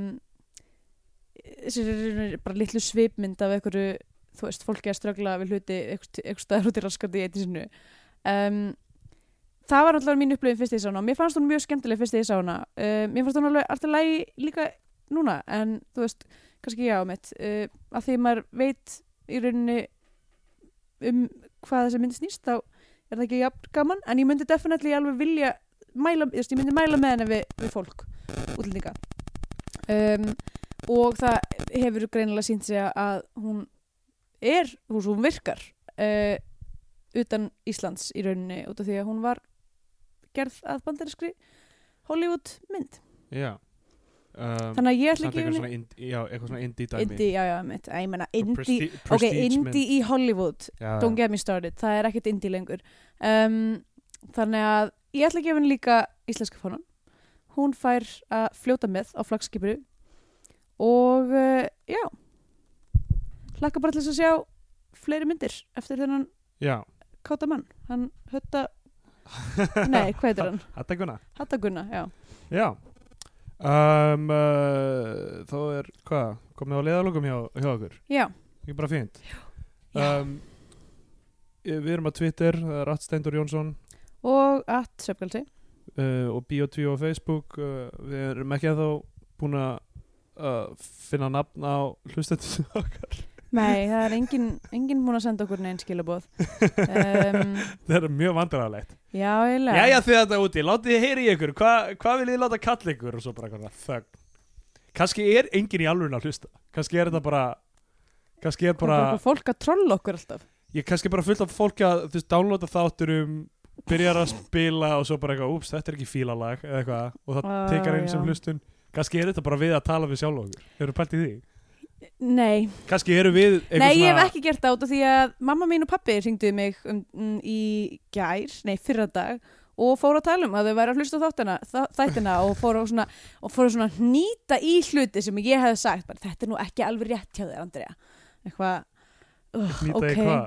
Speaker 2: þessari bara litlu svipmynd af einhverju, þú veist, fólki að ströggla við hluti, einhver- einhver staðar út í raskandi í einnig sinu um, það var alltaf mín upplifin fyrst því ég sá hana og mér fannst hún mjög skemmtileg fyrst því ég sá hana um, mér fannst hún alveg alltaf lægi líka núna en þú veist, kannski já mitt uh, að því maður veit í rauninni um hvað þessi mynd snýst þá er það ekki jafn gaman en ég myndi definitely alveg vilja mæla, ég, veist, ég myndi mæla með henni við, við fólk útlendinga um, og það hefur greinilega sínt sig að hún er, þú veist, hún virkar uh, utan Íslands í rauninni út af því að hún var gerð að bandarinskri Hollywood mynd
Speaker 3: Já um,
Speaker 2: þannig að ég ætla
Speaker 3: Samt
Speaker 2: ekki
Speaker 3: eitthvað
Speaker 2: að
Speaker 3: svona, indi, já, eitthvað svona indie dæmi
Speaker 2: Indi, já, já, mitt, að ég menna
Speaker 3: Og
Speaker 2: Indi,
Speaker 3: presti-
Speaker 2: ok,
Speaker 3: prestige mynd.
Speaker 2: Indi í Hollywood
Speaker 3: Já,
Speaker 2: Don't get me started, það er ekkert indie lengur um, Þannig að ég ætla að gefa henni líka íslenska fónan Hún fær að fljóta með á flagskipuru og uh, já Hlakka bara til þess að sjá fleiri myndir eftir þennan
Speaker 3: já.
Speaker 2: káta mann Hann hötta, nei, hvað heitir hann?
Speaker 3: Þetta er guna
Speaker 2: Hatta Gunna, já
Speaker 3: Já um, uh, Þá er, hvað, komið á leiðalokum hjá, hjá okkur
Speaker 2: Já,
Speaker 3: Ekki bara fínt
Speaker 2: Já.
Speaker 3: um, eh, Við erum á Twitter, það er Rattsteindur Jónsson
Speaker 2: og at Söpgalsi
Speaker 3: uh, og Bio2 á Facebook uh, við erum ekki ennþá búin að uh, finna nafn á hlustendur okkar
Speaker 2: Nei, það er engin, engin búin að senda okkur neinn skilabóð um,
Speaker 3: það er mjög vandræðalegt
Speaker 2: Já, eiginlega
Speaker 3: Jæja þið þetta úti, látið þið heyri í ykkur Hva, hvað vil þið láta kalla ykkur og svo bara eitthvað þögn kannski er engin í alvöru að hlusta kannski er þetta bara kannski er
Speaker 2: Það er bara
Speaker 3: bara
Speaker 2: eitthvað fólk að trolla okkur alltaf
Speaker 3: ég er kannski bara fullt af fólki að þú veist, downloada þáttur um byrjar að spila og svo bara eitthvað, úps, þetta er ekki fílalag eða eitthvað, og það
Speaker 2: Ah,
Speaker 3: tekar einn sem
Speaker 2: já.
Speaker 3: hlustun kannski er þetta bara við að tala við sjálf okkur hefur pælt í því?
Speaker 2: Nei,
Speaker 3: Kanski eru við eitthvað
Speaker 2: Nei, ég hef
Speaker 3: svona-
Speaker 2: ekki gert það út af því að mamma mín og pappi ringduði mig um, mm, í gær, nei, fyrra dag og fóru að tala um að þau væri að hlusta á þáttina, þa- þættina og fóru að svona, og fóru svona að nýta í hluti sem ég hefði sagt, bara þetta er nú ekki alveg rétt hjá þér, Andrea. Eitthvað, uh,
Speaker 3: Nýta
Speaker 2: ok,
Speaker 3: í hvað?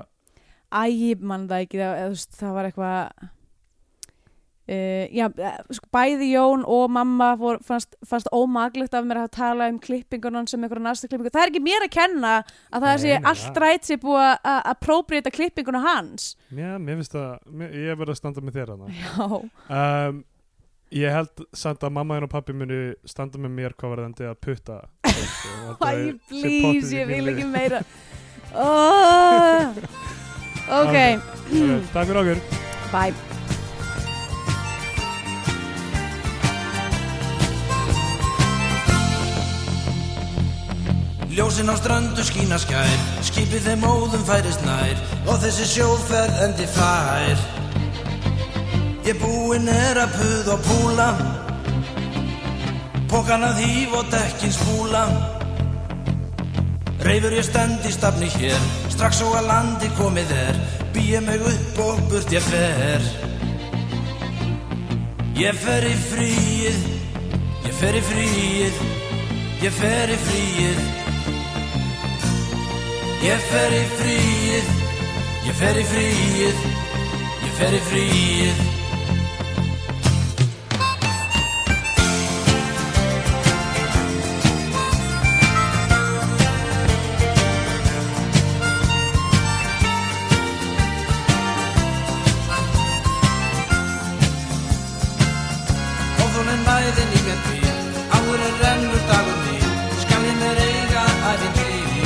Speaker 2: æ, ég man það ekki, það, eða þú veist, það var eitthvað, uh, já, eh, sko, bæði Jón og mamma fór, fannst, fannst ómaglegt af mér að tala um klippingunum sem einhverja næsta klippingu, það er ekki mér að kenna að það
Speaker 3: Nei,
Speaker 2: sé
Speaker 3: nei,
Speaker 2: allt
Speaker 3: það-
Speaker 2: rætt sé búið að- að appropriata klippinguna hans
Speaker 3: Já, mér finnst það, mér, ég verð að standa með þér hana
Speaker 2: já,
Speaker 3: um, Ég held samt að mamma þín og pappi muni standa með mér hvað varðandi að putta
Speaker 2: æ, please, ég vil ekki meira oh. ok,
Speaker 3: Takk fyrir okkur
Speaker 2: bye
Speaker 4: Ljósin á strandu skína skær Skipið þeim óðum færist nær Og þessi sjóferð endi fær Ég búinn er að puð og púla Pókan að hýf og dekkin spúla Reifur ég stend í stafni hér Strax og að landi komið er Býja mig upp og burt ég fer Ég fer í fríið Ég fer í fríið Ég fer í fríið Ég fer í fríið, ég fer í fríið, ég fer í fríið Og þú með mæðin í mér því, áður en rennur dagur því, skal ég mér eiga æfintýri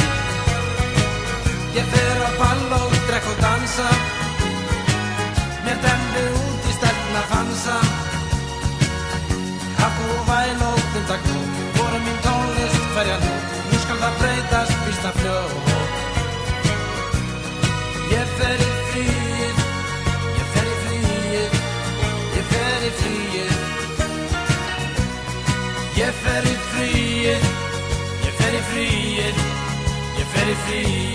Speaker 4: frí um